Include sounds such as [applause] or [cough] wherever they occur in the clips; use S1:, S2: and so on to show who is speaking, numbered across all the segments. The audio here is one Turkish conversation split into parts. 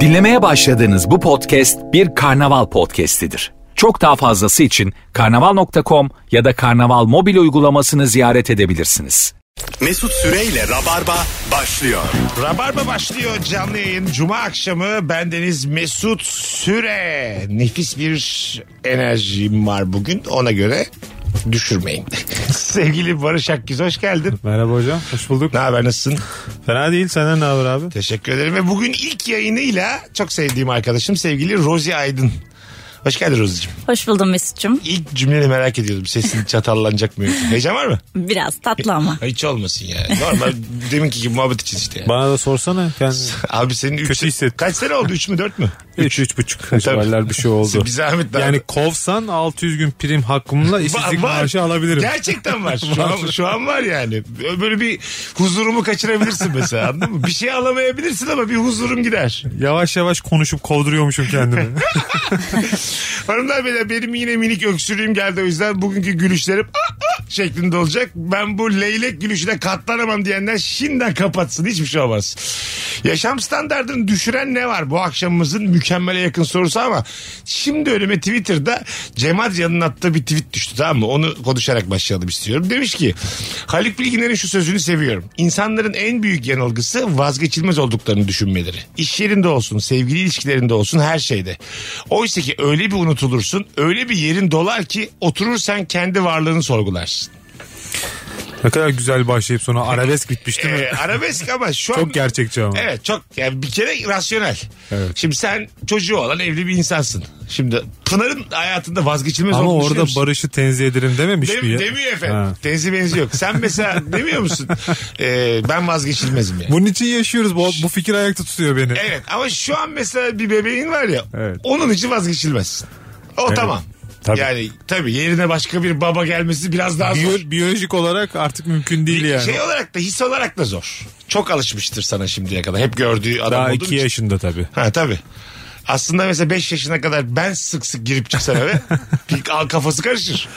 S1: Dinlemeye başladığınız bu podcast bir karnaval podcastidir. Çok daha fazlası için karnaval.com ya da karnaval mobil uygulamasını ziyaret edebilirsiniz.
S2: Mesut Süreyle Rabarba başlıyor.
S3: Rabarba başlıyor canlı yayın. Cuma akşamı bendeniz Mesut Süre. Nefis bir enerjim var bugün. Ona göre düşürmeyin. [laughs] Sevgili Barış Akgüz hoş geldin.
S4: Merhaba hocam. Hoş bulduk.
S3: Ne haber nasılsın?
S4: Fena değil. Senden ne haber abi?
S3: Teşekkür ederim. Ve bugün ilk yayınıyla çok sevdiğim arkadaşım sevgili Rozi Aydın. Hoş geldin Rozi'cim.
S5: Hoş buldum Mesut'cum.
S3: İlk cümleni merak ediyordum. Sesin çatallanacak mı? yoksa? Heyecan var mı?
S5: Biraz
S3: [laughs]
S5: tatlı ama.
S3: Hiç olmasın yani. Normal deminki gibi muhabbet için işte. yani.
S4: Bana da sorsana. Kendini.
S3: Abi senin üç-
S4: Kötü hissettim.
S3: Kaç sene oldu? Üç mü dört mü?
S4: 3 [laughs] üç buçuk. Haşvaller bir şey
S3: [laughs]
S4: oldu.
S3: Bir zahmet daha.
S4: Yani kovsan 600 gün prim hakkımla
S3: Var-
S4: işsizlik
S3: var.
S4: maaşı alabilirim.
S3: Gerçekten
S4: [laughs]
S3: var. Şu an, şu an var yani. Böyle bir huzurumu kaçırabilirsin mesela anladın mı? Bir şey alamayabilirsin ama bir huzurum gider.
S4: Yavaş yavaş konuşup kovduruyormuşum [laughs] kendimi.
S3: Hanımlar beyler benim yine minik öksürüğüm geldi o yüzden bugünkü gülüşlerim "Ah, ah!" şeklinde olacak. Ben bu leylek gülüşüne katlanamam diyenler şimdiden kapatsın hiçbir şey olmaz. Yaşam standartını düşüren ne var bu akşamımızın mükemmele yakın sorusu ama şimdi önüme Twitter'da Cem Adrian'ın attığı bir tweet düştü tamam mı? Onu konuşarak başlayalım istiyorum. Demiş ki Haluk Bilginer'in şu sözünü seviyorum. İnsanların en büyük yanılgısı vazgeçilmez olduklarını düşünmeleri. İş yerinde olsun, sevgili ilişkilerinde olsun her şeyde. Oysa ki öyle bir unutulursun, öyle bir yerin dolar ki oturursan kendi varlığını sorgularsın.
S4: ne kadar güzel başlayıp sonra arabesk bitmiş değil mi?
S3: Ee, arabesk ama şu an...
S4: Çok gerçekçi ama.
S3: Evet çok yani bir kere rasyonel. Şimdi sen çocuğu olan evli bir insansın. Şimdi Pınar'ın hayatında vazgeçilmez
S4: Ama
S3: olduğunu
S4: orada
S3: düşünüyor musun?
S4: barışı tenzih ederim dememiş
S3: Dem-
S4: mi ya?
S3: demiyor efendim.
S4: Ha.
S3: Tenzi benzi yok. Sen mesela [laughs] demiyor musun? Ee, ben vazgeçilmezim yani.
S4: Bunun için yaşıyoruz. Bu, bu fikir ayakta tutuyor beni.
S3: Evet ama şu an mesela bir bebeğin var ya.
S4: Evet.
S3: Onun için vazgeçilmezsin. O tamam.
S4: Tabii.
S3: Yani tabii yerine başka bir baba gelmesi biraz daha zor.
S4: Biyo- biyolojik olarak artık mümkün değil yani.
S3: Şey olarak da his olarak da zor. Çok alışmıştır sana şimdiye kadar. Hep gördüğü adam
S4: Daha
S3: olduğun
S4: iki
S3: için.
S4: yaşında tabii.
S3: Ha tabii. Aslında mesela 5 yaşına kadar ben sık sık girip çıksam
S4: [laughs]
S3: eve bir al kafası karışır.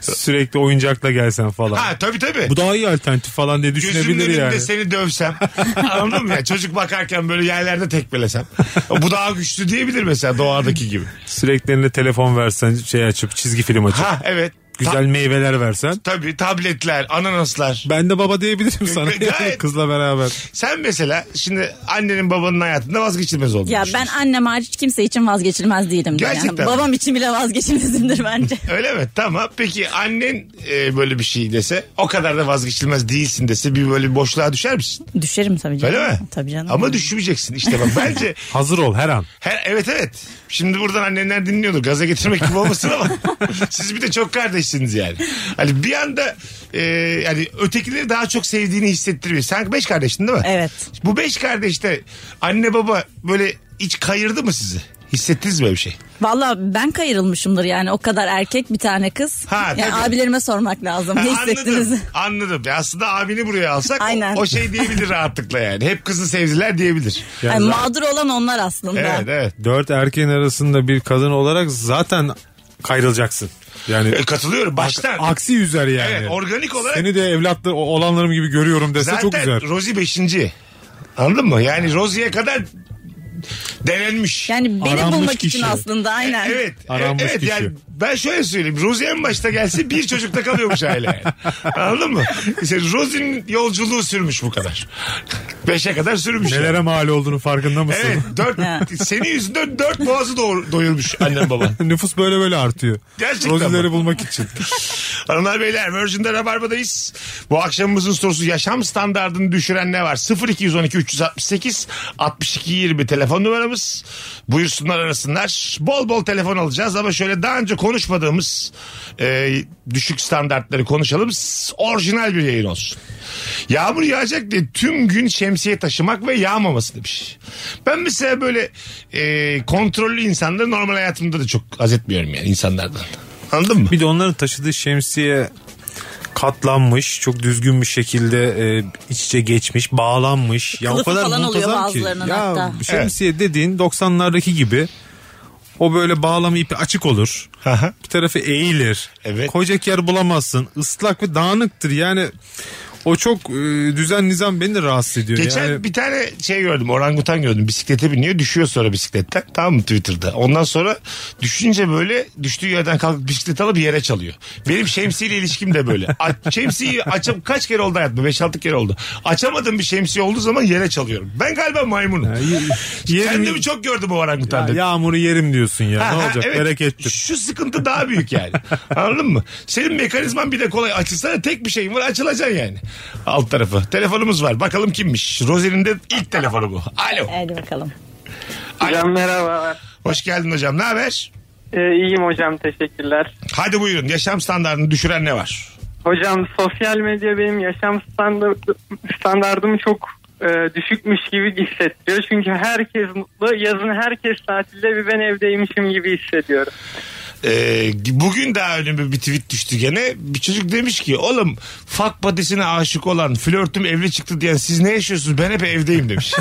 S4: Sürekli oyuncakla gelsen falan.
S3: Ha tabii tabii.
S4: Bu daha iyi alternatif falan diye
S3: Gözümün
S4: düşünebilir
S3: önünde
S4: yani.
S3: seni
S4: [laughs]
S3: dövsem. Anladın mı ya? Çocuk bakarken böyle yerlerde tekmelesem. Bu daha güçlü diyebilir mesela doğadaki gibi.
S4: Sürekli eline telefon versen şey açıp çizgi film açıp.
S3: Ha evet.
S4: Güzel
S3: Ta-
S4: meyveler versen.
S3: tabii tabletler, ananaslar.
S4: Ben de baba diyebilirim sana.
S3: [laughs] Gayet.
S4: [laughs] Kızla beraber.
S3: Sen mesela şimdi annenin babanın hayatında vazgeçilmez oldun.
S5: Ya ben annem hariç kimse için vazgeçilmez değilim. de
S3: Gerçekten
S5: Yani.
S3: mi?
S5: Babam için bile
S3: [laughs]
S5: vazgeçilmezimdir bence.
S3: Öyle mi? Tamam. Peki annen e, böyle bir şey dese o kadar da vazgeçilmez değilsin dese bir böyle bir boşluğa düşer misin?
S5: Düşerim tabii canım.
S3: Öyle mi?
S5: Tabii canım.
S3: Ama düşmeyeceksin işte bak
S5: [laughs]
S3: bence
S4: Hazır ol her an.
S3: Her, evet evet. Şimdi buradan annenler dinliyordur. Gaza getirmek gibi olmasın ama siz bir de çok kardeşsiniz yani. Hani bir anda e, yani ötekileri daha çok sevdiğini hissettiriyor. Sen beş kardeştin değil mi?
S5: Evet.
S3: Bu beş kardeşte anne baba böyle iç kayırdı mı sizi? Hissettiniz mi öyle bir şey?
S5: Valla ben kayırılmışımdır yani o kadar erkek bir tane kız.
S3: Ha,
S5: yani
S3: tabii.
S5: abilerime sormak lazım.
S3: Ha,
S5: Ne [laughs] hissettiniz?
S3: Anladım. anladım. Ya aslında abini buraya alsak
S5: Aynen.
S3: O, o şey diyebilir rahatlıkla yani. Hep kızı sevdiler diyebilir.
S5: Yani mağdur olan onlar aslında.
S3: Evet evet.
S4: Dört erkeğin arasında bir kadın olarak zaten kayrılacaksın. Yani
S3: E, katılıyorum baştan.
S4: aksi yüzer yani.
S3: Evet, organik olarak-
S4: Seni de evlatlı o- olanlarım gibi görüyorum dese çok güzel.
S3: Zaten Rosie 5. Anladın mı? Yani Rosie'ye kadar denenmiş.
S5: Yani beni
S4: Aranmış
S5: bulmak için
S4: kişi.
S5: aslında aynen.
S3: E, Evet.
S4: Aranmış
S3: evet
S4: kişi.
S3: yani ben şöyle söyleyeyim. Rosie en başta gelse bir çocukta kalıyormuş aile. yani. Anladın mı? İşte Rosie'nin yolculuğu sürmüş bu kadar. Beşe kadar sürmüş.
S4: Nelere
S3: yani.
S4: mal olduğunu farkında mısın?
S3: şey. Evet. Dört, senin yüzünden dört boğazı doğur, doyurmuş annen baban.
S4: [laughs] Nüfus böyle böyle artıyor.
S3: Gerçekten
S4: Rozileri
S3: mi?
S4: bulmak için.
S3: Hanımlar beyler Virgin'de Rabarba'dayız. Bu akşamımızın sorusu yaşam standartını düşüren ne var? 0212 368 62 20 telefon numaramız. Buyursunlar arasınlar. Bol bol telefon alacağız ama şöyle daha önce konuşmadığımız e, düşük standartları konuşalım. S- Orijinal bir yayın olsun. Yağmur yağacak diye tüm gün şemsiye taşımak ve yağmaması demiş. Ben mesela böyle e, kontrollü insanları normal hayatımda da çok az etmiyorum yani insanlardan. Anladın mı?
S4: Bir de onların taşıdığı şemsiye katlanmış, çok düzgün bir şekilde e, iç içe geçmiş, bağlanmış. Ya
S5: Kılıfı
S4: o kadar
S5: falan oluyor
S4: muntazam ki.
S5: bazılarının
S4: Ya
S5: hatta.
S4: şemsiye dediğin 90'lardaki gibi o böyle bağlama ipi açık olur.
S3: Aha.
S4: Bir tarafı eğilir.
S3: Evet.
S4: Koyacak yer bulamazsın. Islak ve dağınıktır. Yani O çok e, düzen nizam beni de rahatsız ediyor.
S3: Geçen
S4: yani,
S3: bir tane şey gördüm orangutan gördüm bisiklete biniyor düşüyor sonra bisikletten tamam mı Twitter'da. Ondan sonra düşünce böyle düştüğü yerden kalkıp bisiklet alıp yere çalıyor. Benim şemsiyeyle ilişkim de böyle. A- şemsiyeyi açıp kaç kere oldu hayatımda 5-6 kere oldu. Açamadığım bir şemsiye olduğu zaman yere çalıyorum. Ben galiba maymunum.
S4: yerim-
S3: Kendimi çok gördüm o orangutanda.
S4: Ya yağmuru yerim diyorsun ya.
S3: Ha,
S4: ne
S3: ha,
S4: olacak?
S3: evet.
S4: Merak ettim.
S3: Şu sıkıntı daha büyük yani. Anladın mı? Senin mekanizman bir de kolay. Açılsana tek bir şeyin var açılacaksın yani. Alt tarafı. Telefonumuz var. Bakalım kimmiş? Rozi'nin de ilk telefonu bu. Alo.
S5: Hadi bakalım.
S3: Alo.
S6: Hocam merhaba.
S3: Hoş geldin hocam. Ne haber?
S6: iyiyim hocam teşekkürler.
S3: Hadi buyurun. Yaşam standartını düşüren ne var?
S6: Hocam sosyal medya benim yaşam standart, standartımı çok e, düşükmüş gibi hissettiriyor. Çünkü herkes mutlu. Yazın herkes tatilde bir ben evdeymişim gibi hissediyorum.
S3: Ee, bugün daha önüme bir tweet düştü gene. Bir çocuk demiş ki oğlum fak badisine aşık olan flörtüm evli çıktı diyen siz ne yaşıyorsunuz ben hep evdeyim demiş.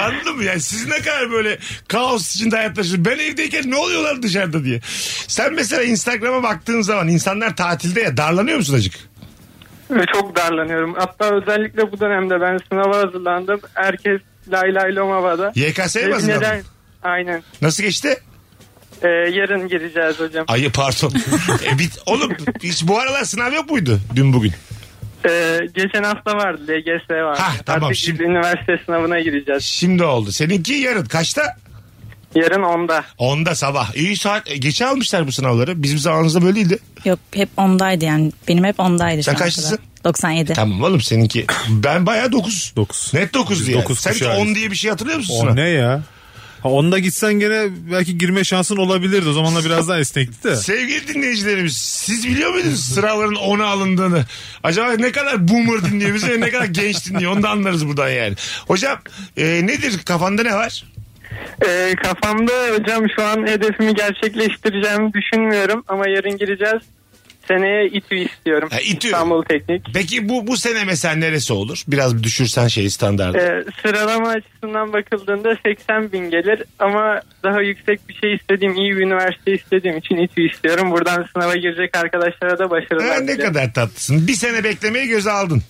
S3: Anladın mı yani siz ne kadar böyle kaos içinde hayat yaşıyorsunuz. Ben evdeyken ne oluyorlar dışarıda diye. Sen mesela Instagram'a baktığın zaman insanlar tatilde ya darlanıyor musun acık?
S6: Ve çok darlanıyorum. Hatta özellikle bu dönemde ben sınava hazırlandım. Herkes lay lay lom havada.
S3: YKS mi
S6: Ve
S3: hazırlandın?
S6: neden- Aynen.
S3: Nasıl geçti?
S6: E, yarın gireceğiz hocam.
S3: Ay pardon. e, bit, oğlum hiç bu aralar sınav yok muydu dün bugün?
S6: E, geçen hafta vardı LGS vardı.
S3: Hah, tamam,
S6: Artık
S3: şimdi-
S6: biz üniversite sınavına gireceğiz.
S3: Şimdi oldu. Seninki yarın kaçta?
S6: Yarın 10'da.
S3: Onda sabah. İyi saat. e, Geçe almışlar bu sınavları. Bizim zamanımızda böyle değildi.
S5: Yok hep ondaydı yani. Benim hep ondaydı. şu
S3: Sen
S5: ana kadar.
S3: kaçlısın?
S5: 97.
S3: Tamam oğlum seninki. Ben bayağı 9.
S4: Dokuz.
S3: Net 9 diye.
S4: Dokuz
S3: Sen hiç
S4: kuşağı
S3: 10
S4: biz.
S3: diye bir şey hatırlıyor musun? sınav?
S4: O ne ya? Ha, onda gitsen gene belki girme şansın olabilirdi. O zamanla biraz daha
S3: [laughs]
S4: esnekti de.
S3: Sevgili dinleyicilerimiz siz biliyor muydunuz sıraların 10'a alındığını? Acaba ne kadar boomer dinliyor bizi ve ne kadar genç dinliyor onu da anlarız buradan yani. Hocam e, nedir kafanda ne var?
S6: Ee, kafamda hocam şu an hedefimi gerçekleştireceğimi düşünmüyorum ama yarın gireceğiz. Seneye İTÜ istiyorum.
S3: Ha, İTÜ.
S6: İstanbul Teknik.
S3: Peki bu bu sene mesela neresi olur? Biraz bir düşürsen şey şeyi standartı.
S6: Ee, sıralama açısından bakıldığında 80 bin gelir ama daha yüksek bir şey istediğim, iyi bir üniversite istediğim için İTÜ istiyorum. Buradan sınava girecek arkadaşlara da başarılar
S3: Ha, ne
S6: dilerim.
S3: kadar tatlısın. Bir sene beklemeyi göze aldın.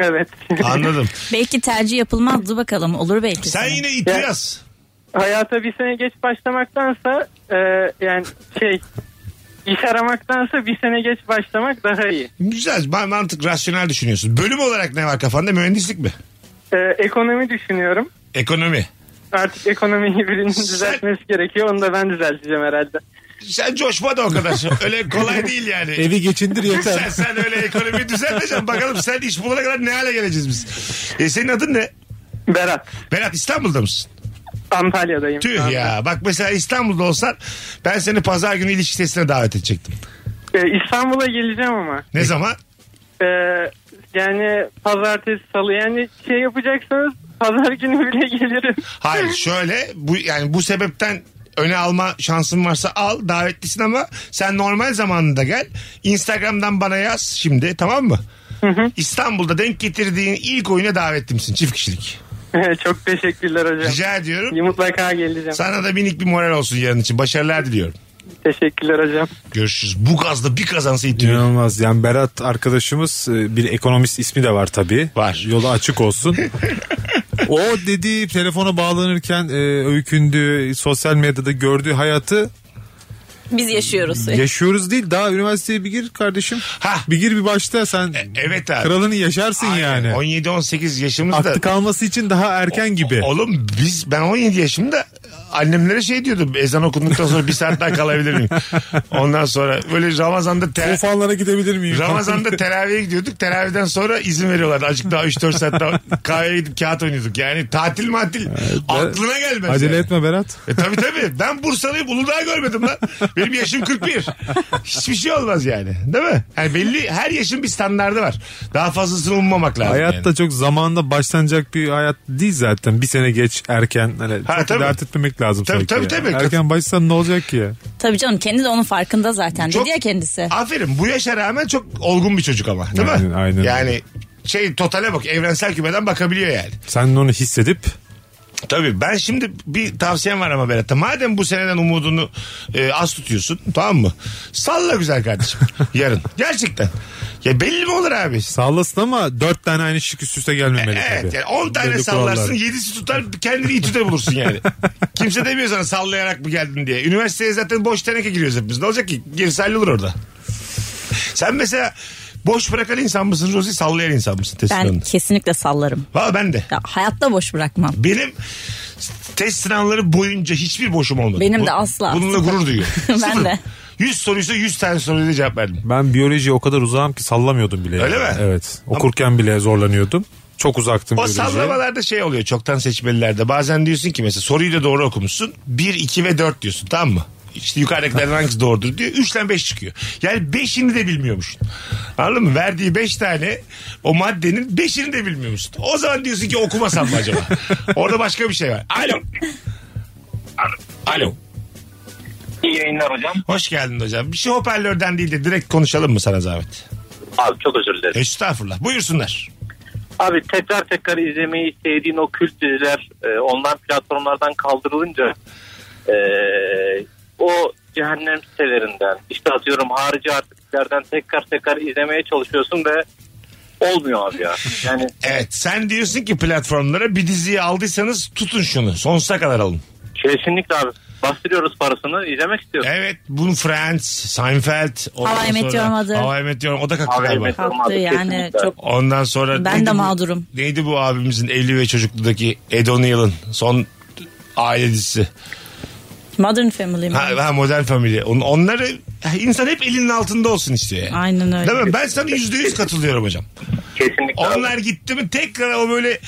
S6: Evet.
S3: Anladım.
S5: Belki tercih yapılmazdı bakalım. Olur belki.
S3: Sen
S5: sana.
S3: yine it yaz.
S6: [laughs] Hayata bir sene geç başlamaktansa e, yani şey iş aramaktansa bir sene geç başlamak daha iyi.
S3: Güzel. ma- Mantık rasyonel düşünüyorsun. Bölüm olarak ne var kafanda? Mühendislik mi?
S6: Ee, ekonomi düşünüyorum.
S3: Ekonomi.
S6: Artık ekonomiyi birinin düzeltmesi gerekiyor. Onu da ben düzelteceğim herhalde.
S3: Sen coşma da o kadar. Öyle kolay değil yani.
S4: Evi geçindir
S3: sen,
S4: yeter.
S3: sen öyle ekonomiyi düzelteceksin. Bakalım sen iş bulana kadar ne hale geleceğiz biz. E, senin adın ne?
S6: Berat,
S3: Berat İstanbul'da mısın?
S6: Antalya'dayım. şu
S3: Tüh
S6: anda.
S3: ya. Bak mesela İstanbul'da olsan ben seni pazar günü ilişki testine davet edecektim.
S6: Ee, İstanbul'a geleceğim ama.
S3: Ne zaman?
S6: Ee, yani pazartesi, salı. Yani şey yapacaksanız pazar günü bile [laughs] gelirim.
S3: Hayır şöyle bu yani bu sebepten öne alma şansın varsa al davetlisin ama sen normal zamanında gel. Instagram'dan bana yaz şimdi tamam mı? İstanbul'da denk getirdiğin ilk oyuna davetlimsin çift kişilik.
S6: Çok teşekkürler hocam.
S3: Rica ediyorum.
S6: Mutlaka geleceğim.
S3: Sana da minik bir moral olsun yarın için. Başarılar diliyorum.
S6: Teşekkürler hocam.
S3: Görüşürüz. Bu gazda bir kazansa itiyor.
S4: İnanılmaz. Yani Berat arkadaşımız e, bir ekonomist ismi de var tabii.
S3: Var.
S4: Yolu açık olsun. o dediği telefona bağlanırken e, öykündüğü sosyal medyada gördüğü hayatı
S5: Biz yaşıyoruz.
S4: yaşıyoruz değil. Daha üniversiteye bir gir kardeşim.
S3: Ha. E,
S4: Bir gir bir başta sen
S3: Evet abi.
S4: kralını yaşarsın yani.
S3: 17-18 yaşımızda.
S4: Aklı kalması için daha erken gibi.
S3: Oğlum biz ben 17 yaşımda annemlere şey diyordum ezan okunduktan sonra bir saat daha kalabilir miyim? Ondan sonra böyle Ramazan'da ter-
S4: Tufanlara gidebilir miyim?
S3: Ramazan'da teraviye gidiyorduk. Teravihden sonra izin veriyorlardı. Azıcık daha 3-4 saat daha kahveye gidip kağıt oynuyorduk. Yani tatil matil aklına gelmez.
S4: Acele
S3: yani.
S4: etme Berat.
S3: E tabii tabii. Ben Bursalıyım. Uludağ'ı görmedim lan. Benim yaşım 41. Hiçbir şey olmaz yani. Değil mi? Yani belli her yaşın bir standardı var. Daha fazlasını ummamak lazım.
S4: Hayatta
S3: yani.
S4: çok zamanında başlanacak bir hayat değil zaten. Bir sene geç erken hani
S3: Ha,
S4: çok
S3: tabii.
S4: dert etmemek lazım
S3: Tabii,
S4: sanki
S3: tabii,
S4: ya.
S3: tabii.
S4: Erken başsan ne olacak ki ya?
S5: Tabii canım kendi de onun farkında zaten.
S3: Çok-
S5: Dedi ya kendisi.
S3: Aferin. Bu yaşa rağmen çok olgun bir çocuk ama. Değil mi?
S4: Aynen, aynen.
S3: Yani şey totale bak. Evrensel kümeden bakabiliyor yani.
S4: Sen onu hissedip
S3: Tabii ben şimdi bir tavsiyem var ama Berat'ta. Madem bu seneden umudunu e, az tutuyorsun tamam mı? Salla güzel kardeşim [laughs] yarın. Gerçekten. Ya belli mi olur abi?
S4: Sallasın ama dört tane aynı şık üst üste gelmemeli
S3: Evet
S4: tabii.
S3: yani 10 tane
S4: Belli
S3: sallarsın
S4: kurallar.
S3: 7'si tutar kendini itüde bulursun
S4: [laughs]
S3: yani. Kimse demiyor sana sallayarak mı geldin diye. Üniversiteye zaten boş teneke giriyoruz hepimiz. Ne olacak ki? Gerisi hallolur orada. Sen mesela boş bırakan insan mısın Rozi? Sallayan insan mısın test
S5: Ben
S3: sınavında?
S5: kesinlikle sallarım.
S3: Valla ben de.
S5: Ya, hayatta boş bırakmam.
S3: Benim test sınavları boyunca hiçbir boşum olmadı.
S5: Benim
S3: Bu-
S5: de asla.
S3: Bununla gurur duyuyorum.
S5: [laughs] Ben
S3: Sıfır.
S5: de.
S3: 100 soruysa 100 tane soruya da cevap verdim.
S4: Ben biyolojiye o kadar uzağım ki sallamıyordum bile.
S3: Öyle
S4: yani.
S3: mi?
S4: Evet. Okurken bile zorlanıyordum. Çok uzaktım
S3: O
S4: biyolojiye.
S3: sallamalarda şey oluyor çoktan seçmelilerde. Bazen diyorsun ki mesela soruyu da doğru okumuşsun. 1, 2 ve 4 diyorsun tamam mı? İşte yukarıdakilerden hangisi doğrudur diyor. 3'ten 5 çıkıyor. Yani 5'ini de bilmiyormuşsun. Anladın mı? Verdiği 5 tane o maddenin 5'ini de bilmiyormuşsun. O zaman diyorsun ki okumasam mı acaba? Orada başka bir şey var. Alo. Alo. Alo.
S7: İyi yayınlar hocam.
S3: Hoş geldin hocam. Bir şey hoparlörden değil de direkt konuşalım mı sana zahmet?
S7: Abi çok özür dilerim.
S3: Estağfurullah. Buyursunlar.
S7: Abi tekrar tekrar izlemeyi sevdiğin o kült diziler e, online platformlardan kaldırılınca e, o cehennem sitelerinden işte atıyorum harici artıklardan tekrar tekrar izlemeye çalışıyorsun ve olmuyor [laughs] abi ya. Yani
S3: Evet sen diyorsun ki platformlara bir diziyi aldıysanız tutun şunu. Sonsuza kadar alın.
S7: kesinlikle abi bastırıyoruz parasını izlemek istiyorsun.
S3: Evet bunu Friends, Seinfeld. ondan
S5: How I Met
S3: sonra-
S5: Your Mother.
S3: How I Met Your O da kalktı
S7: How I
S3: galiba.
S7: Met- Tamam
S5: Kalktı
S7: abi,
S5: yani
S7: kesinlikle.
S5: çok
S3: Ondan sonra...
S5: Ben
S3: neydi
S5: de
S3: bu-
S5: mağdurum.
S3: Neydi bu abimizin evli ve çocukludaki Ed O'Neill'ın son aile dizisi.
S5: Modern Family mi?
S3: Ha, ha, Modern Family. On- Onları insan hep elinin altında olsun istiyor yani.
S5: Aynen öyle.
S3: Değil mi? Ben sana yüzde yüz katılıyorum hocam.
S7: Kesinlikle abi.
S3: Onlar gitti mi tekrar o böyle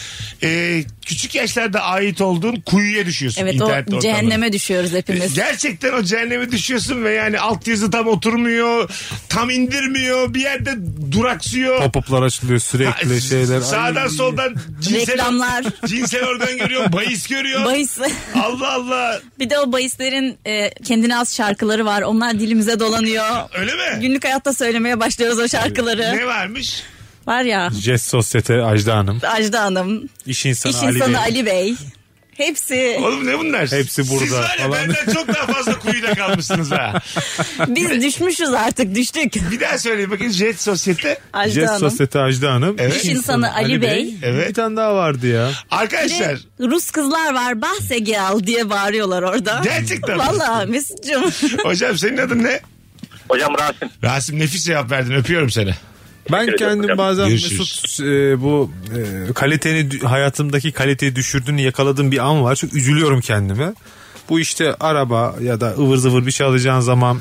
S3: e, küçük yaşlarda ait olduğun kuyuya düşüyorsun.
S5: Evet
S3: internet
S5: o
S3: ortamlarında.
S5: cehenneme düşüyoruz hepimiz.
S3: Gerçekten o cehenneme düşüyorsun ve yani altyazı tam oturmuyor, tam indirmiyor, bir yerde duraksıyor.
S4: Pop-up'lar açılıyor sürekli şeyler.
S3: Sağdan
S4: Ay.
S3: soldan cinsel, [laughs]
S5: Reklamlar.
S3: cinsel organ görüyor, bahis görüyor.
S5: Bahis.
S3: Allah Allah.
S5: bir de o bahislerin e, kendine az şarkıları var. Onlar dilimize dolanıyor.
S3: Öyle mi?
S5: Günlük hayatta söylemeye başlıyoruz o
S3: Ne
S5: şarkıları.
S3: varmış?
S5: Var ya
S4: Jest Sosyete Ajda Hanım.
S5: Ajda Hanım,
S4: İş insanı,
S5: iş
S4: Ali,
S5: insanı
S4: Bey.
S5: Ali Bey. Hepsi.
S3: Oğlum ne bunlar?
S4: Hepsi
S3: Siz
S4: burada
S3: var ya
S4: falan.
S3: benden çok daha fazla kuyuda kalmışsınız ha.
S5: Biz düşmüşüz artık düştük.
S3: Bir daha söyleyeyim bakın Jet Sosyete.
S5: Ajda
S4: Jest
S5: Hanım.
S4: Sosyete Ajda Hanım.
S3: Evet.
S5: İş insanı Ali Bey.
S3: Evet.
S4: Bir tane daha vardı ya.
S5: Bir de
S3: Arkadaşlar
S5: Rus kızlar var bahse gel diye bağırıyorlar orada.
S3: Gerçekten mi?
S5: Valla Mesut'cum.
S3: hocam senin adın ne?
S7: Hocam Rasim.
S3: Rasim nefis cevap verdin öpüyorum seni.
S4: Ben
S7: ederim
S4: kendim
S7: hocam.
S4: bazen
S3: Görüşürüz.
S4: Mesut e, bu e, kaliteni dü- hayatımdaki kaliteyi düşürdüğünü yakaladığım bir an var. Çok üzülüyorum kendime. Bu işte araba ya da ıvır zıvır bir şey alacağın zaman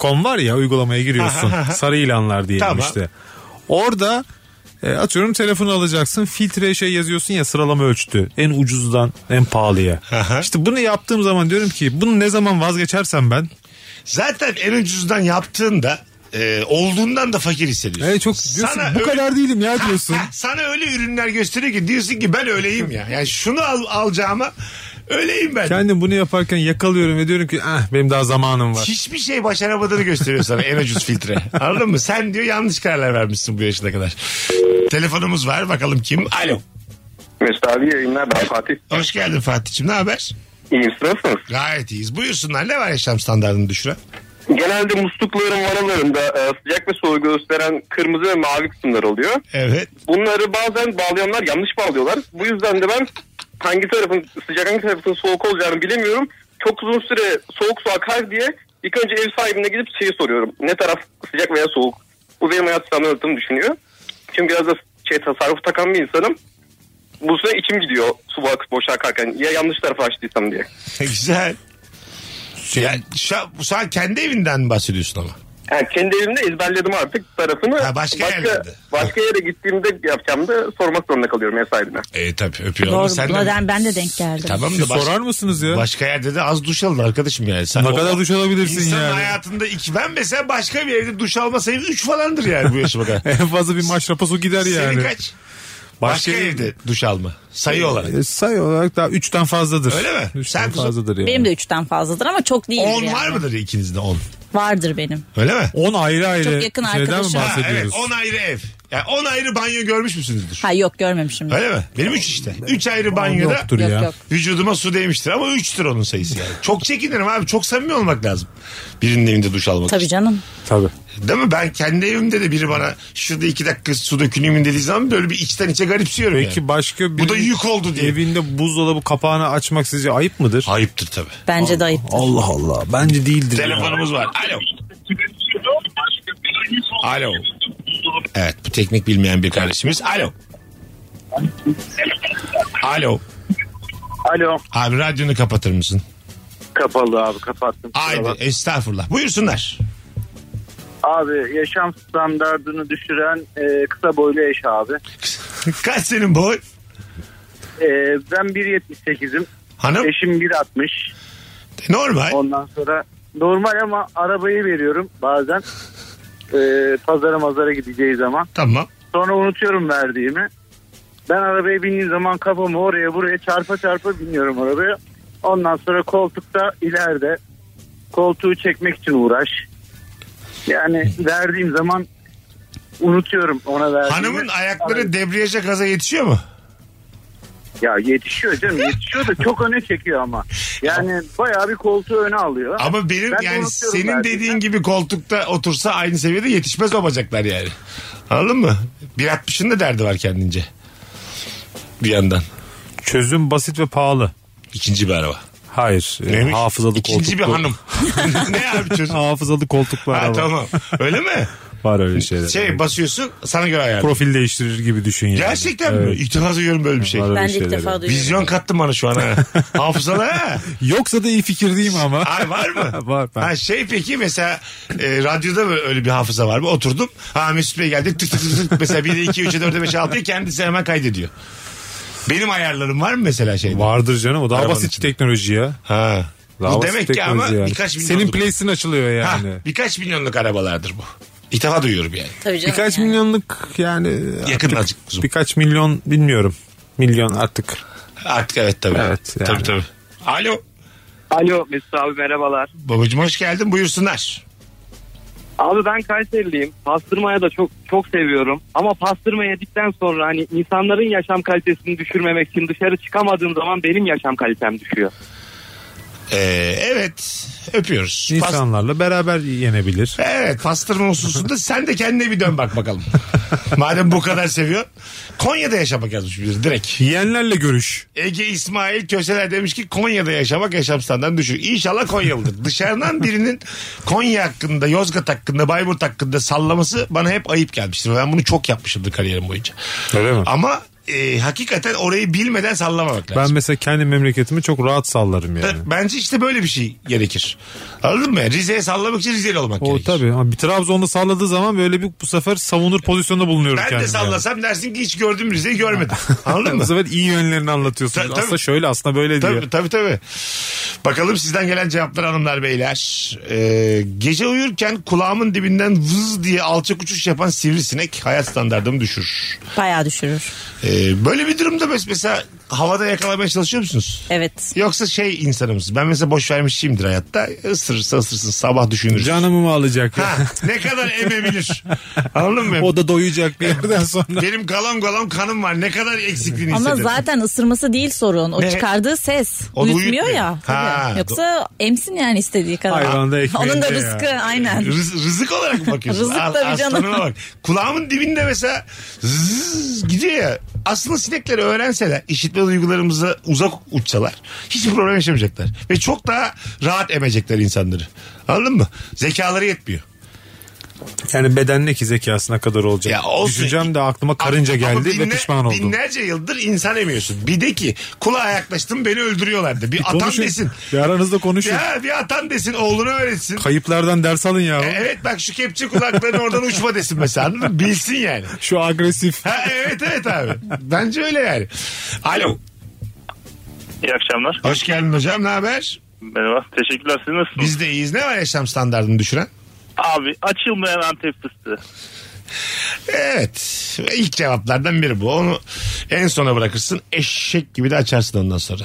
S4: .com var ya uygulamaya giriyorsun. Sarı ilanlar diyelim
S3: Tamam.
S4: işte. Orada e, atıyorum telefonu alacaksın. Filtreye şey yazıyorsun ya sıralama ölçtü. En ucuzdan en pahalıya.
S3: Aha.
S4: işte bunu yaptığım zaman diyorum ki bunu ne zaman vazgeçersem ben
S3: Zaten en ucuzdan yaptığında e, olduğundan da fakir hissediyorsun.
S4: e, çok diyorsun, bu
S3: öyle-
S4: kadar değilim ya diyorsun.
S3: Ha, sana öyle ürünler gösteriyor ki diyorsun ki ben öyleyim ya. Yani şunu al, alacağıma öyleyim ben.
S4: Kendim bunu yaparken yakalıyorum ve diyorum ki ah benim daha zamanım var.
S3: Hiçbir şey başaramadığını gösteriyor sana en ucuz filtre. Anladın mı? Sen diyor yanlış kararlar vermişsin bu yaşına kadar. Telefonumuz var bakalım kim? Alo.
S8: Mesut abi yayınlar ben Fatih.
S3: Hoş geldin Fatih'cim ne haber?
S8: İyiyim siz nasılsınız?
S3: Gayet iyiyiz. Buyursunlar ne var yaşam standartını düşüren?
S8: Genelde muslukların varalarında e, sıcak ve soğuğu gösteren kırmızı ve mavi kısımlar oluyor.
S3: Evet. [laughs]
S8: Bunları bazen bağlayanlar yanlış bağlıyorlar. Bu yüzden de ben hangi tarafın sıcak hangi tarafın soğuk olacağını bilemiyorum. Çok uzun süre soğuk su akar diye ilk önce ev sahibine gidip şeyi soruyorum. Ne taraf sıcak veya soğuk? Bu benim hayat standartımı düşünüyor. Çünkü biraz da şey tasarruf takan bir insanım. Bu süre içim gidiyor su boş akarken. Ya yanlış tarafa açtıysam diye.
S3: Güzel. Yani şu an, şu an kendi evinden mi bahsediyorsun ama?
S8: Yani kendi evimde ezberledim artık tarafını.
S3: Ha, başka
S8: başka,
S3: yerlerde.
S8: başka yere gittiğimde yapacağım da sormak zorunda kalıyorum ev
S5: [laughs]
S8: sahibine.
S3: E tabii öpüyorum.
S5: Doğru.
S3: Ama sen de-
S5: Buradan ben de denk geldim.
S3: Tamam da
S4: Siz
S3: baş-
S4: sorar mısınız ya?
S3: başka yerde de az duş alın arkadaşım yani. Sen
S4: ne
S3: o-
S4: kadar duş alabilirsin
S3: İnsanın
S4: yani?
S3: hayatında iki. Ben mesela başka bir evde duş alma sayım 3 falandır yani bu yaşıma kadar.
S4: [laughs] En fazla bir maşrapa su gider yani.
S3: Senin kaç? Başka, evde duş alma. Sayı olarak.
S4: E, Sayı olarak daha 3'ten fazladır.
S3: Öyle mi?
S4: 3'ten
S3: Sen kızım-
S4: fazladır yani.
S5: Benim de üçten fazladır ama çok değil.
S3: 10
S5: yani.
S3: var mıdır ikinizde 10?
S5: Vardır benim.
S3: Öyle mi?
S4: 10 ayrı ayrı
S5: Çok yakın
S4: şeyden mi
S5: arkadaşım. Ha,
S3: Ha, evet
S4: bahsediyoruz?
S3: 10 ayrı ev. Yani 10 ayrı banyo görmüş müsünüzdür?
S5: Ha yok görmemişim.
S3: Öyle mi? Benim 3 işte. 3 ayrı banyoda
S4: Yoktur
S5: Yok,
S4: ya.
S5: yok.
S3: vücuduma su değmiştir ama 3'tür onun sayısı yani. Çok çekinirim abi. Çok samimi olmak lazım. Birinin evinde duş almak
S5: Tabii canım.
S4: Tabii.
S3: için. Değil mi? Ben kendi evimde de biri bana şurada 2 dakika su döküleyim dediği zaman böyle bir içten içe garipsiyorum
S4: Peki
S3: yani.
S4: başka bir
S3: Bu da yük oldu diye.
S4: Evinde buzdolabı kapağını açmak sizce ayıp mıdır?
S3: Ayıptır tabii.
S5: Bence de ayıp.
S4: Allah Allah. Bence değildir. ya.
S3: Telefonumuz var. Alo. Alo. Evet bu teknik bilmeyen bir kardeşimiz. Alo. Alo.
S7: Alo.
S3: Abi radyonu kapatır mısın?
S7: Kapalı abi kapattım.
S3: Haydi estağfurullah. Buyursunlar.
S7: Abi yaşam standartını düşüren e, kısa boylu eş abi.
S3: Kaç senin boy?
S7: E, ben 1.78'im.
S3: Hanım
S7: Eşim 1.60.
S3: normal.
S7: Ondan sonra normal ama arabayı veriyorum bazen. E, pazara mazara gideceği zaman.
S3: Tamam.
S7: Sonra unutuyorum verdiğimi. Ben arabaya bindiğim zaman kafamı oraya buraya çarpa çarpa biniyorum arabaya. Ondan sonra koltukta ileride koltuğu çekmek için uğraş. Yani verdiğim zaman unutuyorum ona verdiğimi.
S3: Hanımın ayakları debriyaja gaza yetişiyor mu?
S7: Ya yetişiyor canım yetişiyor da çok öne çekiyor ama. Yani bayağı bir koltuğu öne alıyor.
S3: Ama benim
S7: Ben de
S3: yani
S7: unutuyorum
S3: senin
S7: verdiğimi.
S3: dediğin gibi koltukta otursa aynı seviyede yetişmez o bacaklar yani. Anladın mı? 1.60'ın da derdi var kendince. Bir yandan.
S4: Çözüm basit ve pahalı.
S3: İkinci bir araba.
S4: Hayır. e,
S3: Neymiş?
S4: Hafızalı
S3: İkinci bir
S4: koltuklu-
S3: hanım. [laughs] ne abi çözüm?
S4: [laughs] Hafızalı koltuklu
S3: ha
S4: araba.
S3: tamam. Öyle mi?
S4: Var öyle şeyler.
S3: Şey basıyorsun sana göre ayar.
S4: Profil değiştirir gibi düşün yani.
S3: Gerçekten mi? İlk defa duyuyorum böyle bir şey.
S4: Var öyle
S5: Ben de ilk
S4: şeyler.
S5: defa duyuyorum.
S3: Vizyon kattın bana şu an
S4: [laughs]
S3: ha. Hafızalı ha.
S4: Yoksa da iyi fikir değil mi ama?
S3: Ay var mı?
S4: [laughs] Var, var.
S3: Ha, şey peki mesela e, radyoda böyle öyle bir hafıza var mı? Oturdum. Ha Mesut Bey geldi. Tık tık tık tık. Mesela 1, 2, 3, 4, 5, 6'yı kendisi hemen kaydediyor. Benim ayarlarım var mı mesela şeyde?
S4: Vardır canım o daha
S3: Arabanın
S4: basit
S3: içinde.
S4: teknoloji ya.
S3: Ha.
S4: Daha
S3: bu
S4: basit
S3: demek ki ama
S4: teknoloji yani.
S3: birkaç milyon
S4: Senin plays'in açılıyor
S3: Ha,
S4: yani.
S3: birkaç milyonluk arabalardır bu. İlk defa duyuyorum yani.
S5: Tabii canım.
S4: Birkaç
S5: yani.
S4: milyonluk yani
S3: Yakın
S4: artık
S3: azıcık kuzum.
S4: birkaç milyon bilmiyorum. Milyon artık.
S3: Artık evet tabii.
S4: Evet, yani.
S3: Tabii tabii. Alo.
S6: Alo Mesut abi merhabalar.
S3: Babacım hoş geldin buyursunlar.
S6: Abi ben Kayseriliyim. Pastırmaya da çok çok seviyorum. Ama pastırma yedikten sonra hani insanların yaşam kalitesini düşürmemek için dışarı çıkamadığım zaman benim yaşam kalitem düşüyor.
S3: Ee, evet öpüyoruz. Pas-
S4: İnsanlarla beraber yenebilir.
S3: evet pastırma hususunda sen de kendine bir dön bak
S4: [laughs]
S3: bakalım. Madem bu kadar seviyor. Konya'da yaşamak yazmış bir direkt.
S4: Yiyenlerle görüş.
S3: Ege İsmail Köseler demiş ki Konya'da yaşamak yaşam standartı düşük. İnşallah Konyalıdır. Dışarıdan birinin Konya hakkında, Yozgat hakkında, Bayburt hakkında sallaması bana hep ayıp gelmiştir. Ben bunu çok yapmışımdır kariyerim boyunca.
S4: Öyle mi?
S3: Ama e, hakikaten orayı bilmeden sallamamak lazım. E,
S4: Ben mesela kendi memleketimi çok rahat sallarım yani.
S3: Bence işte böyle bir şey gerekir. Anladın mı? Rize'ye sallamak için Rizeli olmak
S4: O
S3: gerekir.
S4: tabii ama bir Trabzon'da salladığı zaman böyle bir bu sefer savunur pozisyonda bulunuyorum
S3: Ben de
S4: kendimi
S3: sallasam dersin ki hiç gördüm Rize'yi görmedim. Anladın
S4: yani. Bu
S3: mı?
S4: sefer iyi yönlerini anlatıyorsun.
S3: Ta- tabii.
S4: aslında şöyle aslında böyle diyor.
S3: Tabii tabii tabii. Bakalım sizden gelen cevaplar hanımlar beyler. Ee, gece uyurken kulağımın dibinden vız diye alçak uçuş yapan sivrisinek hayat standartımı düşürür.
S5: Bayağı düşürür.
S3: Ee, böyle bir durumda mes- mesela havada yakalamaya çalışıyor musunuz?
S5: Evet.
S3: Yoksa şey insanımız ben mesela boş vermişimdir hayatta ısırırsa ısırsın sabah düşünürüz.
S4: Canımı mı alacak ya?
S3: Ha, ne kadar emebilir. Anladın mı?
S4: [laughs] O da doyacak bir yerden sonra.
S3: Benim galam galam kanım var. Ne kadar eksikliğini
S5: Ama
S3: hissederim.
S5: zaten ısırması değil sorun. O
S3: Ne?
S5: çıkardığı ses.
S3: Onu
S5: Uyutmuyor
S3: uyutmuyor.
S5: ya. tabii.
S3: Ha,
S5: Yoksa emsin yani istediği kadar.
S4: Hayvan da ekmeğinde
S5: [laughs] Onun da
S4: ya.
S5: rızkı aynen.
S3: Rız- rızık olarak mı bakıyorsun?
S5: Rızık
S3: Al-
S5: tabii canım.
S3: aslanıma bak. Kulağımın dibinde mesela zzz gidiyor ya. Aslında sinekleri öğrenseler, işitme duygularımıza uzak uçsalar hiç problem yaşamayacaklar. Ve çok daha rahat emecekler insanları. Anladın mı? Zekaları yetmiyor.
S4: Yani bedenle ki zekasına kadar olacak.
S3: Ya olsun.
S4: Düşüncem de aklıma karınca
S3: Ama
S4: geldi
S3: binle-
S4: ve pişman oldum.
S3: Binlerce yıldır insan emiyorsun. Bir de ki kulağa yaklaştım beni öldürüyorlardı. Bir atan
S4: E, Konuşun.
S3: desin.
S4: Bir aranızda konuşun.
S3: Ya bir atan desin oğlunu öğretsin. E,
S4: Kayıplardan ders alın ya.
S3: Evet bak şu kepçe kulaklarını oradan uçma desin mesela anladın mı? Bilsin yani.
S4: Şu agresif.
S3: Ha, evet evet abi. Bence öyle yani. Alo.
S7: İyi akşamlar.
S3: Hoş geldin hocam ne haber?
S7: Merhaba. Teşekkürler. Siz nasılsınız?
S3: Biz de iyiyiz. Ne var yaşam standartını düşüren?
S7: Abi açılmayan Antep fıstığı.
S3: Evet. İlk cevaplardan biri bu. Onu en sona bırakırsın. Eşek gibi de açarsın ondan sonra.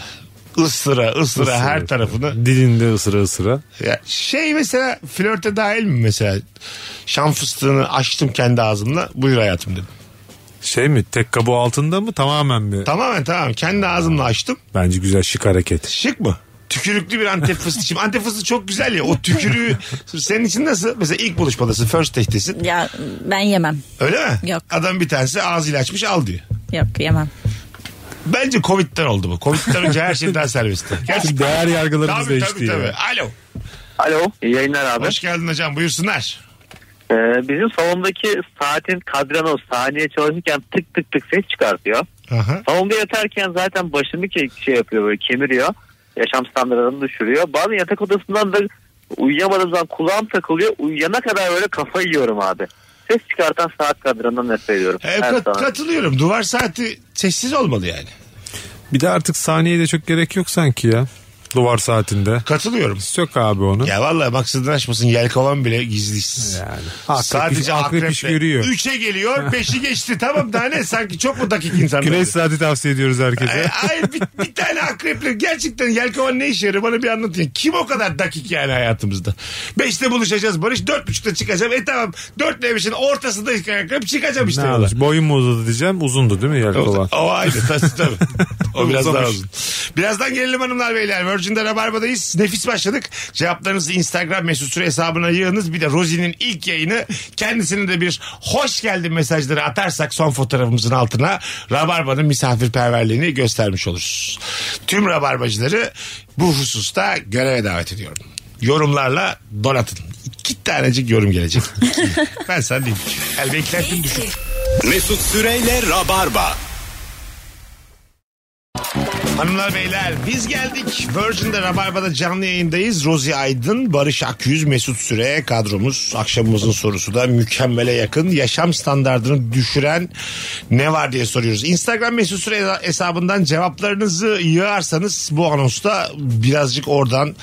S3: Isıra ısıra her tarafını.
S4: Dilinde ısıra ısıra.
S3: Ya şey mesela flörte dahil mi mesela? Şam fıstığını açtım kendi ağzımla. Buyur hayatım dedim.
S4: Şey mi tek kabuğu altında mı tamamen mi?
S3: Tamamen tamam. Kendi ağzımla açtım.
S4: Bence güzel şık hareket.
S3: Şık mı? Tükürüklü bir antep fıstığı. Şimdi antep fıstığı çok güzel ya. O tükürüğü senin için nasıl? Mesela ilk buluşmadasın. First date'tesin.
S5: Ya ben yemem.
S3: Öyle mi?
S5: Yok.
S3: Adam bir tanesi ağzıyla açmış al diyor.
S5: Yok yemem.
S3: Bence Covid'den oldu bu. Covid'den önce her şey daha serbestti.
S4: Çünkü
S3: Gerçekten.
S4: değer yargılarımız
S3: Tabii
S4: değişti.
S3: tabii
S4: ya.
S3: tabii. Alo.
S7: Alo iyi yayınlar abi.
S3: Hoş geldin hocam buyursunlar.
S7: Ee, bizim salondaki saatin kadranı saniye çalışırken tık tık tık ses çıkartıyor.
S3: Aha.
S7: Salonda yatarken zaten başını ke- şey yapıyor böyle kemiriyor. Yaşam standartlarını düşürüyor. Bazen yatak odasından da uyuyamadığım zaman kulağım takılıyor. Uyuyana kadar böyle kafayı yiyorum abi. Ses çıkartan saat kadranından nefret ediyorum.
S3: Ee,
S7: Her
S3: kat-
S7: zaman.
S3: katılıyorum. Duvar saati sessiz olmalı yani.
S4: Bir de artık saniyeye de çok gerek yok sanki ya. Duvar saatinde.
S3: Katılıyorum.
S4: Sök abi onu.
S3: Ya vallahi maksudun açmasın yelkovan bile gizlisiz.
S4: Yani. Akrep iş-
S3: Sadece
S4: akrep
S3: akrep
S4: iş görüyor.
S3: 3'e geliyor 5'i geçti tamam daha ne sanki çok mu dakik insan.
S4: Güneş saati tavsiye ediyoruz
S3: E,
S4: herkese.
S3: Hayır bir, bir tane akreple gerçekten yelkovan ne işe yarıyor bana bir anlatın. Kim o kadar dakik yani hayatımızda? Beşte buluşacağız Barış dört buçukta çıkacağım. E tamam dörtle beşin ortasında akrep çıkacağım işte.
S4: ne
S3: yola.
S4: olur. Boyun mu uzadı diyeceğim. Uzundu değil mi Yelkovan?
S3: O ayrı tabii tabii. O biraz daha
S4: Uzamış.
S3: uzun. Birazdan gelelim hanımlar beyler. Virgin'de Rabarba'dayız. Nefis başladık. Cevaplarınızı Instagram mesut süre hesabına yığınız. Bir de Rozi'nin ilk yayını kendisine de bir hoş geldin mesajları atarsak son fotoğrafımızın altına Rabarba'nın misafirperverliğini göstermiş oluruz. Tüm Rabarbacıları bu hususta göreve davet ediyorum. Yorumlarla donatın. İki tanecik yorum gelecek. ben sana diyeyim. El şey. beklentim düşük.
S2: Mesut Süreyle Rabarba.
S3: Hanımlar beyler biz geldik. Virgin'de Rabarba'da canlı yayındayız. Rozi Aydın, Barış Akyüz, Mesut Süre kadromuz. Akşamımızın sorusu da mükemmele yakın. Yaşam standartını düşüren ne var diye soruyoruz. Instagram Mesut Süre hesabından cevaplarınızı yığarsanız bu anonsta birazcık oradan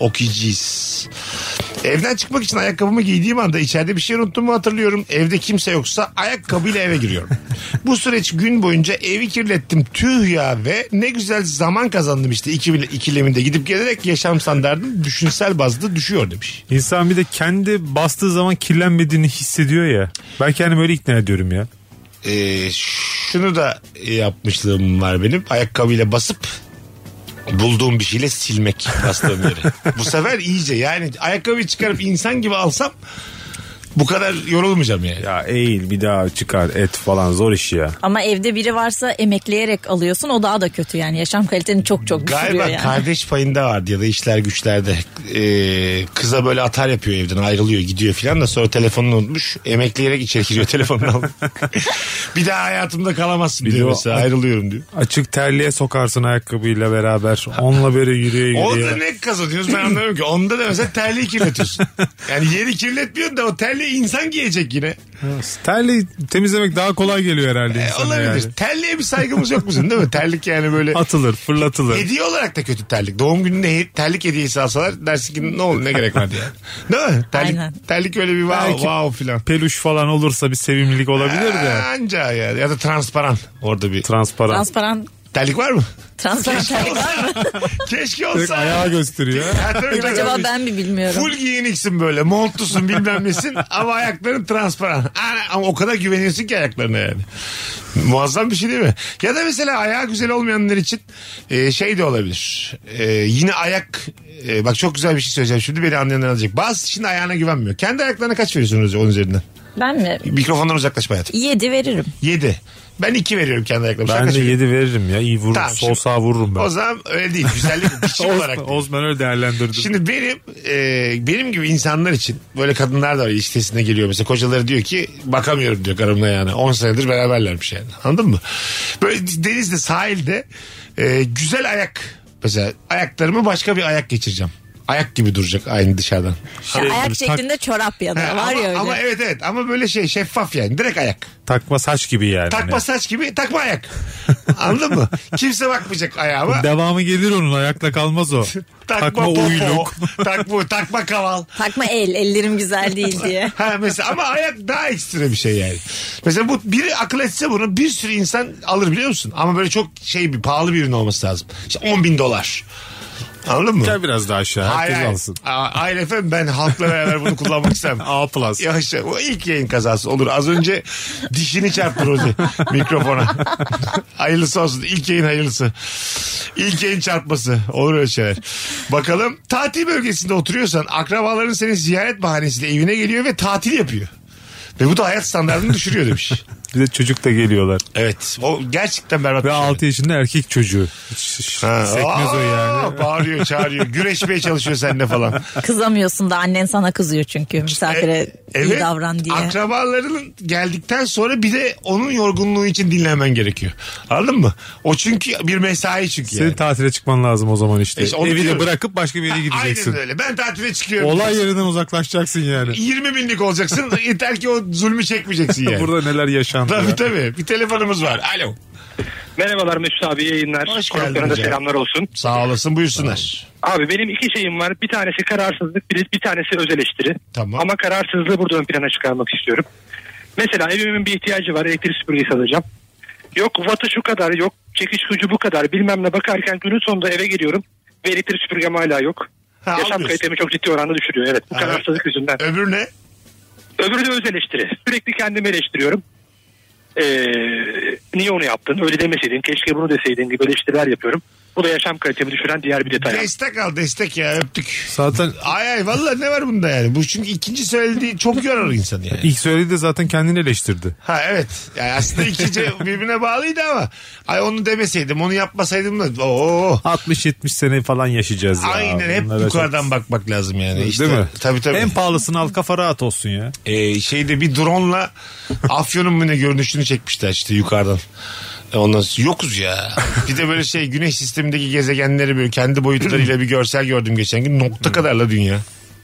S3: okuyacağız. Evden çıkmak için ayakkabımı giydiğim anda içeride bir şey unuttum mu hatırlıyorum. Evde kimse yoksa ayakkabıyla eve giriyorum. Bu süreç gün boyunca evi kirlettim tüh ya ve ne güzel zaman kazandım işte iki, ikileminde gidip gelerek yaşam standartım düşünsel bazda düşüyor demiş.
S4: İnsan bir de kendi bastığı zaman kirlenmediğini hissediyor ya. Ben kendimi öyle ikna ediyorum ya.
S3: Ee, şunu da yapmışlığım var benim ayakkabıyla basıp bulduğum bir şeyle silmek bastığım yeri. Bu sefer iyice yani ayakkabıyı çıkarıp insan gibi alsam bu kadar yorulmayacağım yani.
S4: Ya eğil bir daha çıkar et falan zor iş ya.
S5: Ama evde biri varsa emekleyerek alıyorsun o daha da kötü yani. Yaşam kaliteni çok çok düşürüyor
S3: Galiba
S5: yani.
S3: kardeş payında vardı ya da işler güçlerde. Ee, kıza böyle atar yapıyor evden ayrılıyor gidiyor filan da sonra telefonunu unutmuş. Emekleyerek içeri giriyor telefonunu alıp. [laughs] bir daha hayatımda kalamazsın
S4: Bir de
S3: diyor
S4: o-
S3: mesela ayrılıyorum diyor.
S4: Açık terliğe sokarsın ayakkabıyla beraber. Onunla böyle yürüye
S3: Orada
S4: yürüye.
S3: ne kazanıyoruz ben anlamıyorum ki. Onda da mesela terliği kirletiyorsun. Yani yeri kirletmiyorsun da o terliği insan giyecek yine.
S4: Terliği temizlemek daha kolay geliyor herhalde
S3: E,
S4: insana
S3: olabilir.
S4: yani.
S3: Terliğe bir saygımız yok bizim değil mi? Terlik yani böyle...
S4: Atılır fırlatılır.
S3: Hediye olarak da kötü terlik. Doğum gününde he- terlik hediyesi alsalar dersin ki ne olur ne gerek var
S5: [laughs]
S3: diye. Değil mi? Terlik,
S5: Aynen.
S3: terlik öyle bir wow,
S4: Belki-
S3: wow filan.
S4: Peluş falan olursa bir sevimlilik olabilir de.
S3: Anca ya. Ya da transparan orada bir.
S4: Transparan.
S5: Transparan
S3: terlik var mı?
S5: transparan terlik var mı?
S3: [laughs] Keşke
S4: Direkt
S3: olsa.
S4: ayağı gösteriyor.
S3: Ha, tabii, tabii.
S5: Acaba ben mi bilmiyorum.
S3: Full giyiniksin böyle montlusun
S4: [laughs]
S3: bilmem nesin ama ayakların transparan. Ana, Ama o kadar güveniyorsun ki ayaklarına yani. Muazzam bir şey değil mi? Ya da mesela ayağı güzel olmayanlar için e, şey de olabilir. E, yine ayak e, bak çok güzel bir şey söyleyeceğim şimdi beni anlayanlar alacak. Bazı şimdi ayağına güvenmiyor. Kendi ayaklarına kaç veriyorsunuz onun üzerinden?
S5: Ben mi?
S3: Mikrofondan uzaklaş hayatım.
S5: 7 veririm.
S3: 7. Ben 2 veriyorum kendi ayaklarıma. Sen
S4: Ben
S3: kaç
S4: de
S3: veriyorsun?
S4: 7 veririm ya. iyi vururum.
S3: Tamam,
S4: Sol
S3: şimdi-
S4: sağ vururum ben.
S3: O zaman öyle değil. Güzellik
S4: [laughs]
S3: biçim
S4: Osman-
S3: olarak. değil.
S4: Osman öyle değerlendirdim.
S3: Şimdi benim e, benim gibi insanlar için böyle kadınlar da var ilişkisine geliyor mesela kocaları diyor ki bakamıyorum diyor karımla yani 10 senedir beraberlermiş yani anladın mı? Böyle denizde sahilde e, güzel ayak mesela ayaklarımı başka bir ayak geçireceğim. Ayak gibi duracak aynı dışarıdan.
S5: Ya
S4: Şey
S5: ayak
S4: gibi, tak-
S5: şeklinde çorap ya da
S3: Ha, ama,
S5: var ya öyle.
S3: ama evet evet ama böyle şey şeffaf yani direkt ayak.
S4: Takma saç gibi yani.
S3: Takma saç gibi takma ayak. Anladın mı? Kimse bakmayacak [laughs] ayağıma.
S4: Devamı gelir onun ayakla kalmaz o.
S3: [laughs] Takma,
S4: Takma
S3: popo, [laughs]
S4: uyluk.
S3: takma, takma kaval.
S5: Takma el, ellerim güzel değil diye.
S3: Ha mesela ama ayak daha ekstra bir şey yani. Mesela bu biri akıl etse bunu bir sürü insan alır biliyor musun? Ama böyle çok şey bir pahalı bir ürün olması lazım. İşte 10 bin dolar. Anladın mı?
S4: Gel biraz daha aşağı.
S3: Hayır,
S4: Herkes
S3: hayır.
S4: alsın.
S3: Aa, Hayır
S4: [laughs]
S3: efendim ben halkla beraber bunu kullanmak istemem.
S4: A plus.
S3: Yavaş yavaş. O ilk yayın kazası olur. Az önce dişini çarptı
S4: [laughs]
S3: Rozi mikrofona. hayırlısı olsun. İlk yayın hayırlısı. İlk yayın çarpması. Olur öyle şeyler. Bakalım tatil bölgesinde oturuyorsan akrabaların seni ziyaret bahanesiyle evine geliyor ve tatil yapıyor. Ve bu da hayat standartını düşürüyor
S4: [laughs]
S3: demiş.
S4: Bir de çocuk da geliyorlar.
S3: Evet. O gerçekten berbat.
S4: Ve
S3: bir şey.
S4: 6 yaşında erkek çocuğu. Hiç- hiç
S3: Ha,
S4: Sekmez o
S3: aa,
S4: yani.
S3: Bağırıyor çağırıyor. Güreşmeye çalışıyor seninle falan.
S5: Kızamıyorsun da annen sana kızıyor çünkü misafire iyi davran diye.
S3: E, Akrabalarının geldikten sonra bir de onun yorgunluğu için dinlenmen gerekiyor. Anladın mı? O çünkü bir mesai çünkü
S4: Senin
S3: yani.
S4: tatile çıkman lazım o zaman işte.
S3: İşte onu
S4: Evi de
S3: diyorum.
S4: bırakıp başka bir yere gideceksin.
S3: Aynen öyle. Ben tatile çıkıyorum.
S4: Olay yerinden uzaklaşacaksın yani.
S3: 20 binlik
S4: [laughs]
S3: olacaksın. Yeter ki o zulmü çekmeyeceksin yani.
S4: Burada neler yaşandı.
S3: Tabii
S4: ya.
S3: tabii. Bir telefonumuz var. Alo.
S7: Merhabalar Mesut abi yayınlar.
S3: Hoş
S7: Konuklarına
S3: geldin
S7: da
S3: hocam.
S7: selamlar olsun.
S3: Sağ olasın buyursunlar.
S7: Abi benim iki şeyim var. Bir tanesi kararsızlık, bir, bir tanesi öz eleştiri.
S3: Tamam.
S7: Ama kararsızlığı burada ön plana çıkarmak istiyorum. Mesela evimin bir ihtiyacı var. Elektrik süpürgesi alacağım. Yok wattı şu kadar, yok çekiş gücü bu kadar bilmem ne bakarken günün sonunda eve geliyorum. Ve elektrik süpürgem hala yok.
S3: Ha,
S7: Yaşam
S3: almıyorsun.
S7: kalitemi çok ciddi oranda düşürüyor. Evet bu
S3: Ha,
S7: kararsızlık yüzünden.
S3: Öbür ne?
S7: Öbürü de öz eleştiri. Sürekli kendimi eleştiriyorum. Ee, niye onu yaptın? Öyle demeseydin. Keşke bunu deseydin gibi eleştiriler yapıyorum. Bu da yaşam kalitemi düşüren diğer bir detay.
S3: Destek al destek ya öptük.
S4: Zaten
S3: Ay ay valla ne var bunda yani? Bu çünkü ikinci söylediği çok yorar insanı yani.
S4: ilk söyledi de zaten kendini eleştirdi.
S3: Ha evet. Yani aslında ikinci
S4: [laughs]
S3: birbirine bağlıydı ama ay onu demeseydim onu yapmasaydım da oo.
S4: 60-70 sene falan yaşayacağız ya.
S3: Aynen hep
S4: Bunlara
S3: yukarıdan
S4: çok-
S3: bakmak lazım yani. İşte,
S4: Değil mi?
S3: Tabii tabii.
S4: En pahalısını al kafa rahat olsun ya.
S3: Ee, şeyde bir drone'la Afyon'un mu ne görünüşünü çekmişler işte yukarıdan. E, Ondan sonra yokuz ya. Bir de böyle şey güneş sistemindeki gezegenleri böyle kendi boyutlarıyla bir görsel gördüm geçen gün. Nokta kadarla dünya.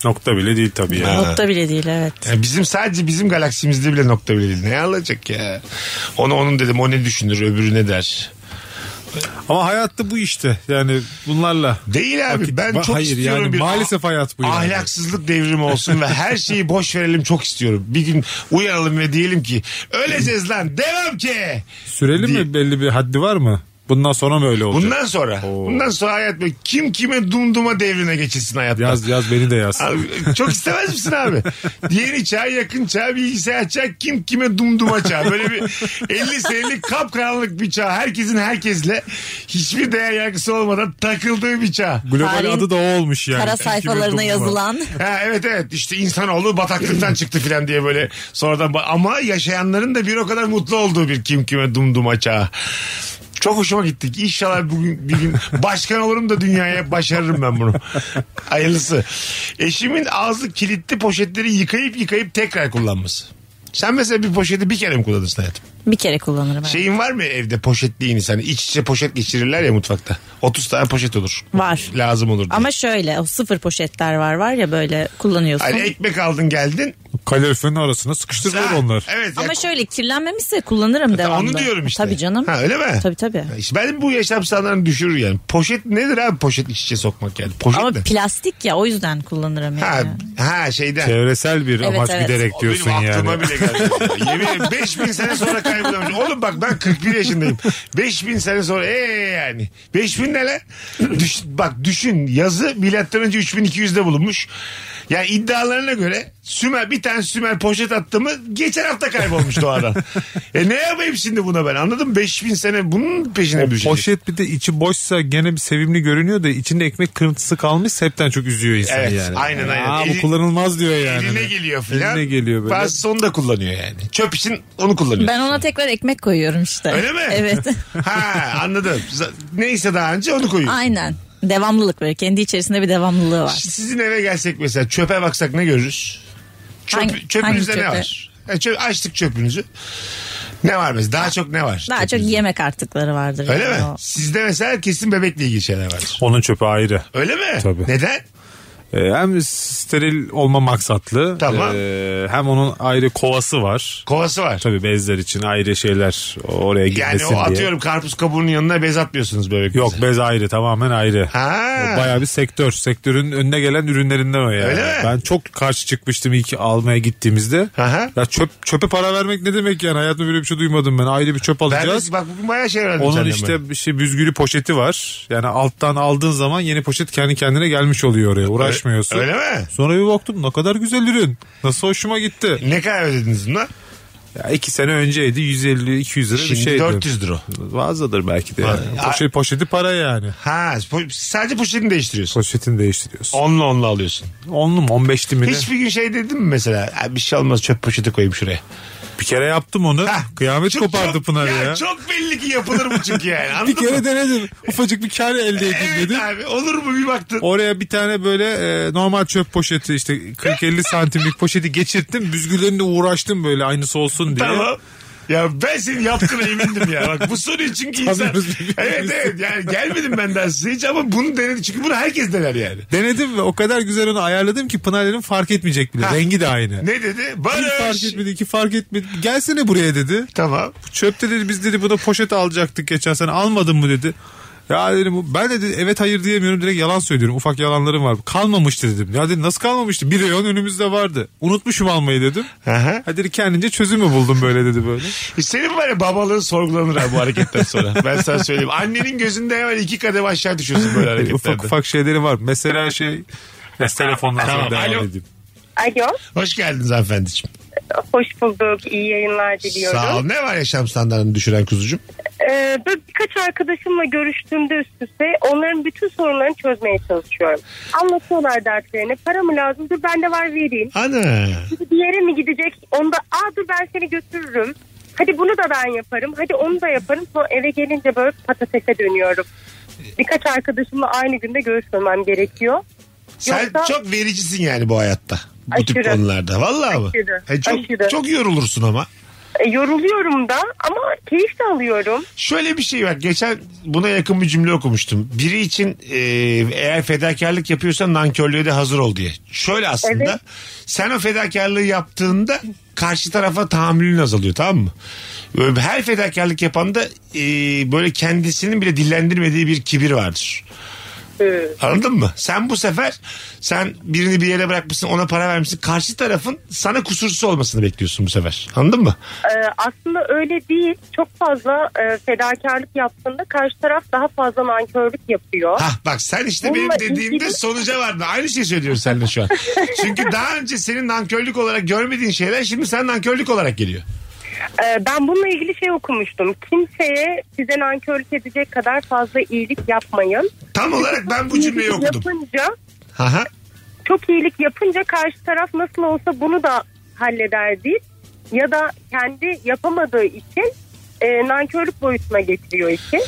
S4: Nokta bile değil tabii ya.
S5: Nokta bile değil evet.
S3: Ya bizim sadece bizim galaksimizde bile nokta bile değil. Ne alacak ya? Onu onun dedim o ne düşünür öbürü ne der.
S4: Ama hayatta bu işte. Yani bunlarla.
S3: Değil abi
S4: Vakit-
S3: ben
S4: Va-
S3: çok
S4: hayır,
S3: istiyorum
S4: yani
S3: bir
S4: maalesef hayat bu yani.
S3: ahlaksızlık devrimi olsun ve her şeyi boş verelim çok istiyorum. Bir gün uyanalım ve diyelim ki öleceğiz lan devam ki.
S4: Süreli
S3: Değil.
S4: mi belli bir haddi var mı? Bundan sonra mı öyle olacak?
S3: Bundan sonra bundan sonra hayat böyle kim kime dumduma devrine geçilsin hayatta.
S4: Yaz yaz beni de yaz.
S3: Abi, çok istemez misin abi? Yeni çağ, yakın çağ, bilgisayar çağ, kim kime dumduma çağ. Böyle bir 50 senelik kapkaranlık bir çağ. Herkesin herkesle hiçbir değer yargısı olmadan takıldığı bir çağ.
S4: Global
S5: Tarihin
S4: adı da o olmuş yani.
S5: Kara
S4: Kim kime
S5: sayfalarına
S4: dokunma.
S5: yazılan
S3: Ha, evet evet işte insanoğlu bataklıktan çıktı filan diye böyle sonradan ba- ama yaşayanların da bir o kadar mutlu olduğu bir kim kime dumduma çağı. Çok hoşuma gittik. İnşallah bugün bir gün başkan olurum da dünyaya başarırım ben bunu. Hayırlısı. Eşimin ağzı kilitli poşetleri yıkayıp yıkayıp tekrar kullanması. Sen mesela bir poşeti bir kere mi kullanırsın hayatım?
S5: bir kere kullanırım. evet.
S3: Şeyin var mı evde poşetliğini sen? İç içe poşet geçirirler ya mutfakta. 30 tane poşet olur.
S5: Var.
S3: Lazım olur diye.
S5: Ama şöyle o sıfır poşetler var var ya böyle kullanıyorsun.
S3: Hani ekmek aldın geldin.
S4: Kaloriferin arasına sıkıştırılır onlar.
S3: Evet. ya e,
S5: Ama şöyle kirlenmemişse kullanırım devamlı.
S3: Onu diyorum işte.
S5: Tabii canım.
S3: Ha, öyle mi?
S5: Tabii tabii.
S3: İşte ben bu yaşam standartını düşürür yani. Poşet nedir abi poşet iç içe sokmak yani? Poşet
S5: Ama
S3: ne?
S5: plastik ya o yüzden kullanırım
S3: Ha,
S5: yani.
S3: ha
S4: Şey,
S3: şeyden.
S4: Çevresel bir
S5: Evet,
S4: amaç
S5: evet.
S4: giderek
S3: O
S4: diyorsun
S3: benim aklıma
S4: yani.
S3: bile geldi. Yemin ederim 5000 sene sonra kaybolamış. Oğlum bak ben 41 yaşındayım. 5000 sene sonra ee yani. 5000 ne lan? Düş- bak düşün yazı milattan önce 3200'de bulunmuş. Yani iddialarına göre Sümer bir tane Sümer poşet attı mı geçen hafta kaybolmuş
S4: [laughs]
S3: doğadan. e ne yapayım şimdi buna ben anladın mı? 5000 sene bunun peşine düşecek.
S4: Poşet bir de içi boşsa gene bir sevimli görünüyor da içinde ekmek kırıntısı kalmışsa hepten çok üzüyor insanı
S3: Evet,
S4: yani.
S3: aynen, aynen.
S4: Aa,
S3: Eli-
S4: bu kullanılmaz diyor yani.
S3: Eline geliyor filan.
S4: Eline geliyor böyle.
S3: Bazısı onu da kullanıyor yani. Çöp için onu kullanıyor.
S5: Ben ona tekrar ekmek koyuyorum işte.
S3: Öyle mi? [laughs]
S5: Evet.
S3: Ha anladım. Z- Neyse daha önce onu koyuyor.
S5: Aynen. Devamlılık böyle kendi içerisinde bir devamlılığı var.
S3: Sizin eve gelsek mesela çöpe baksak ne görürüz? Çöp,
S5: Hangi-
S3: çöpünüzde
S5: hangi
S3: ne
S5: çöpe?
S3: var? Yani çöp, açtık çöpünüzü. Ne var mesela? Daha çok ne var?
S5: Daha çok
S3: çöpünüzde?
S5: yemek artıkları vardır.
S3: Öyle
S5: yani
S3: mi?
S5: o.
S3: Sizde mesela kesin bebekle ilgili şeyler var.
S4: Onun çöpü ayrı.
S3: Öyle mi?
S4: Tabii.
S3: Neden?
S4: Ee, hem steril olma maksatlı.
S3: Tamam.
S4: ee, hem onun ayrı kovası var.
S3: Kovası var.
S4: Tabii bezler için ayrı şeyler oraya
S3: Yani
S4: gitmesin
S3: o
S4: diye.
S3: atıyorum karpuz kabuğunun yanına bez atmıyorsunuz bebek.
S4: Yok bez ayrı tamamen ayrı.
S3: Ha.
S4: O Bayağı bir sektör. Sektörün önüne gelen ürünlerinden o yani.
S3: Öyle mi?
S4: Ben çok karşı çıkmıştım ilk almaya gittiğimizde.
S3: Aha.
S4: Ya çöp çöpe para vermek ne demek yani? Hayatımda böyle bir şey duymadım ben. Ayrı bir çöp
S3: Ben de-
S4: alacağız.
S3: bak bugün bayağı şey öğrendim
S4: Onun
S3: senden ben.
S4: işte bir şey büzgülü poşeti var. Yani alttan aldığın zaman yeni poşet kendi kendine gelmiş oluyor oraya. Uğraşmıyorsun.
S3: Öyle mi?
S4: Sonra bir baktım ne kadar güzel ürün. Nasıl hoşuma gitti.
S3: Ne kadar ödediniz buna?
S4: Ya iki sene önceydi 150-200 lira bir
S3: Şimdi
S4: şeydi.
S3: 400 lira.
S4: Fazladır belki de. Yani.
S3: Ha.
S4: Poşet, poşeti para yani.
S3: Ha po- sadece poşetini değiştiriyorsun.
S4: Poşetini değiştiriyorsun.
S3: Onunla onunla alıyorsun.
S4: Onlu mu 15'li mi ne?
S3: Hiçbir gün şey dedin mi mesela? "Ha, Bir şey olmaz çöp poşeti koyayım şuraya.
S4: Bir kere yaptım onu.
S3: Ha,
S4: Kıyamet
S3: çok-
S4: kopardı
S3: çok-
S4: Pınar ya.
S3: Çok belli ki yapılır bu çünkü
S4: [laughs]
S3: yani. Anladın
S4: Bir kere
S3: mı?
S4: denedim. Ufacık bir kar elde edeyim
S3: Evet
S4: dedim.
S3: abi olur mu bir baktın.
S4: Oraya bir tane böyle e, normal çöp poşeti işte 40-50 santimlik poşeti geçirttim. Büzgülerinde uğraştım böyle aynısı olsun diye.
S3: Tamam. Ya ben senin yaptığına emindim ya. Bak bu soruyu çünkü insan...
S4: Tanıyoruz birbirimizi.
S3: evet evet yani gelmedim benden size hiç ama bunu denedi. Çünkü bunu herkes dener yani.
S4: Denedim ve o kadar güzel onu ayarladım ki Pınar'ın fark etmeyecek bile.
S3: Ha.
S4: Rengi de aynı.
S3: Ne dedi?
S4: Bir fark
S3: Barış.
S4: etmedi, iki fark etmedi. Gelsene buraya dedi.
S3: Tamam.
S4: Çöpte dedi biz dedi buna poşet alacaktık geçen sene almadın mı dedi. Ya dedim bu- ben dedi evet hayır diyemiyorum direkt yalan söylüyorum ufak yalanlarım var. Kalmamıştı dedim. Ya dedi nasıl kalmamıştı? Bir reyon önümüzde vardı. Unutmuşum almayı dedim.
S3: Aha. E,
S4: Ha dedi kendince çözümü buldum böyle dedi [laughs] böyle.
S3: Senin var ya babalığın sorgulanır abi bu hareketten sonra. Ben sana söyleyeyim. Annenin gözünde hemen iki kadem aşağı düşüyorsun böyle
S4: [laughs] ufak
S3: hareketlerde.
S4: ufak şeyleri var. Mesela şey Neyse, telefondan sonra
S3: Tamam,
S4: devam
S3: alo.
S4: edeyim.
S9: Alo,
S3: Hoş geldiniz hanımefendiciğim.
S9: hoş bulduk. İyi yayınlar diliyorum.
S3: Sağ ol. Ne var yaşam standartını düşüren kuzucuğum?
S9: Ee, böyle birkaç arkadaşımla görüştüğümde üst üste onların bütün sorunlarını çözmeye çalışıyorum. Anlatıyorlar dertlerini. Para mı lazım? Dur bende var vereyim. [laughs]
S3: Ana.
S9: Bir yere mi gidecek? Onda aa dur ben seni götürürüm. Hadi bunu da ben yaparım. Hadi onu da yaparım. Sonra eve gelince böyle patatese dönüyorum. Birkaç arkadaşımla aynı günde görüşmemem gerekiyor.
S3: Sen
S9: Yoksa-
S3: çok vericisin yani bu hayatta. Bu tip
S9: Aşırı.
S3: konularda. Vallahi mı?
S9: Aşırı.
S3: E çok,
S9: Aşırı.
S3: çok yorulursun ama.
S9: E, yoruluyorum da ama keyif de alıyorum.
S3: Şöyle bir şey var. Geçen buna yakın bir cümle okumuştum. Biri için e, eğer fedakarlık yapıyorsan nankörlüğe de hazır ol diye. Şöyle aslında
S9: Evet.
S3: sen o fedakarlığı yaptığında karşı tarafa tahammülün azalıyor tamam mı? Böyle Her fedakarlık yapan da e, böyle kendisinin bile dillendirmediği bir kibir vardır.
S9: Ee,
S3: Anladın mı? Sen bu sefer sen birini bir yere bırakmışsın ona para vermişsin. Karşı tarafın sana kusursuz olmasını bekliyorsun bu sefer. Anladın mı?
S9: Ee, aslında öyle değil. Çok fazla e, fedakarlık yaptığında karşı taraf daha fazla nankörlük yapıyor.
S3: Hah bak sen işte benim
S9: Bununla
S3: dediğimde
S9: ilgili-
S3: sonuca vardın. Aynı şeyi söylüyorum
S9: [laughs]
S3: seninle şu an. Çünkü daha önce senin nankörlük olarak görmediğin şeyler şimdi sen nankörlük olarak geliyor.
S9: Ee, ben bununla ilgili şey okumuştum. Kimseye size nankörlük edecek kadar fazla iyilik yapmayın.
S3: Tam olarak ben bu cümleyi
S9: İyilik
S3: okudum.
S9: Yapınca,
S3: Aha.
S9: çok iyilik yapınca karşı taraf nasıl olsa bunu da halleder deyip ya da kendi yapamadığı için e, nankörlük boyutuna getiriyor işi.